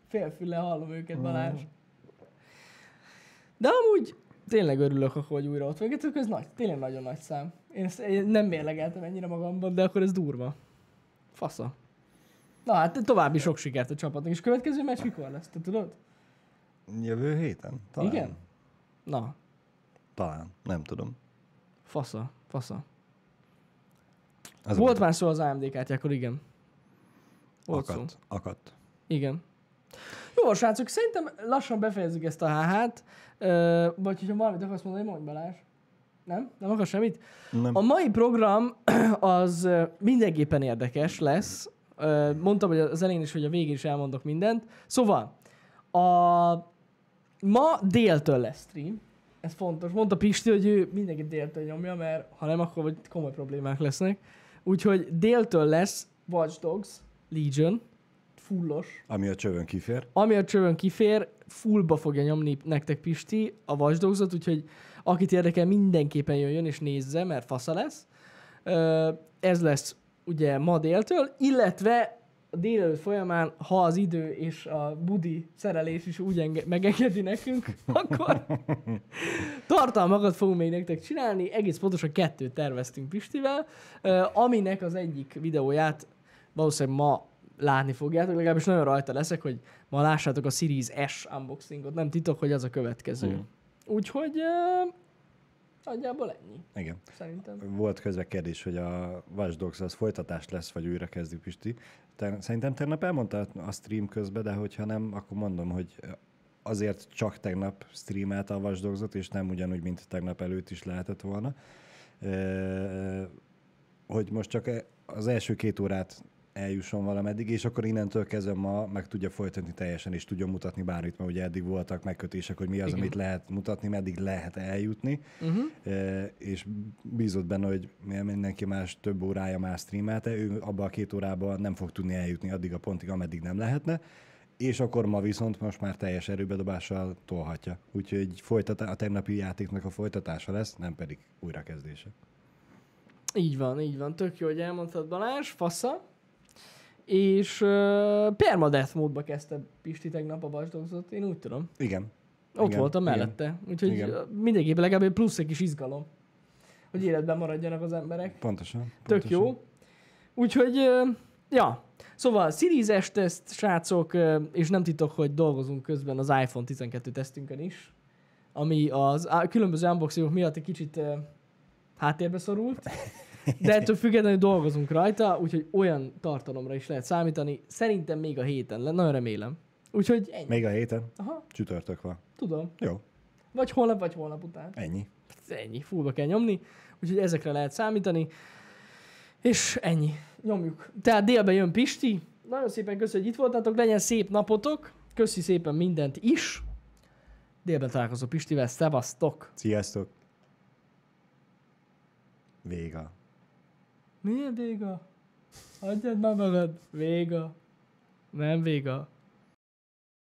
Félfülle hallom őket, Balázs. De amúgy tényleg örülök, akkor, hogy újra ott vagyok. Ez nagy, tényleg nagyon nagy szám. Én ezt én nem mérlegeltem ennyire magamban, de akkor ez durva. Fasza. Na hát további sok sikert a csapatnak. És következő meccs mikor lesz, te tudod? Jövő héten? Talán. Igen? Na, Talán, nem tudom. fasza, fasza. Az Volt már szó az AMD kártyákról, igen. Volt szó. akadt, akadt. Igen. Jó, van, srácok, szerintem lassan befejezzük ezt a HH-t. Ö, vagy hogyha valamit akarsz mondani, mondj Balázs. Nem? Nem akarsz semmit? Nem. A mai program az ö, mindenképpen érdekes lesz. Ö, Mondtam hogy az elején is, hogy a végén is elmondok mindent. Szóval, a ma déltől lesz stream. Ez fontos. Mondta Pisti, hogy ő mindenki déltől nyomja, mert ha nem, akkor vagy komoly problémák lesznek. Úgyhogy déltől lesz Watch Dogs Legion. fullos, Ami a csövön kifér. ami a csövön kifér, fullba fogja nyomni nektek Pisti a vasdolgozat, úgyhogy akit érdekel, mindenképpen jöjjön és nézze, mert fasza lesz. Ö, Ez lesz ugye ma déltől, illetve a délelőtt folyamán, ha az idő és a budi szerelés is úgy enge- megengedi nekünk, akkor tartalmakat fogunk még nektek csinálni. Egész pontosan kettőt terveztünk Pistivel, ö, aminek az egyik videóját valószínűleg ma látni fogjátok, legalábbis nagyon rajta leszek, hogy ma lássátok a Series S unboxingot. Nem titok, hogy az a következő. Mhm. Úgyhogy ö, nagyjából ennyi, Igen. szerintem. Volt közben kérdés, hogy a Watch Dogs az folytatás lesz, vagy újra kezdjük, Pisti. Te, szerintem tegnap elmondtad a stream közben, de hogyha nem, akkor mondom, hogy azért csak tegnap streamelt a Watch Dogsot, és nem ugyanúgy, mint tegnap előtt is lehetett volna. Ö, Hogy most csak e- az első két órát eljusson valameddig, és akkor innentől kezdve ma meg tudja folytatni teljesen, és tudja mutatni bármit, mert ugye eddig voltak megkötések, hogy mi az, Igen. Igen. amit lehet mutatni, meddig lehet eljutni. Uh-huh. E, és bízott benne, hogy mivel mindenki más több órája más streamelte, ő abban a két órában nem fog tudni eljutni addig a pontig, ameddig nem lehetne, és akkor ma viszont most már teljes erőbedobással tolhatja. Úgyhogy folytatá- a tegnapi játéknak a folytatása lesz, nem pedig újrakezdése. Így van, így van. Tök jó, hogy elmondtad Balázs, fasza. És uh, permadeath módba kezdte Pisti tegnap a basdogzot, én úgy tudom. Igen. Ott Igen, voltam igen. mellette. Úgyhogy Igen. igen. mindenképp legalább egy plusz egy kis izgalom, hogy életben maradjanak az emberek. Pontosan. Tök pontosan. jó. Úgyhogy, ö, ja. Szóval Series S teszt, srácok, ö, és nem titok, hogy dolgozunk közben az iPhone 12 tesztünkön is, ami az á- különböző unboxingok miatt egy kicsit ö, háttérbe szorult, de ettől függetlenül dolgozunk rajta, úgyhogy olyan tartalomra is lehet számítani. Szerintem még a héten, le- nagyon remélem. Úgyhogy ennyi. Még a héten? Aha, Csütörtök van. tudom. Jó, Vagy holnap, vagy holnap után. ennyi. Ennyi, fullba kell nyomni, úgyhogy ezekre lehet számítani. És ennyi, nyomjuk. Tehát délben jön Pisti. Nagyon szépen köszönjük, hogy itt voltatok, legyen szép napotok. Köszi szépen mindent is. Délben találkozó Pistivel, szevasztok. Sziasztok. Véga. Milyen véga? Adjad már magad. Véga. Nem véga.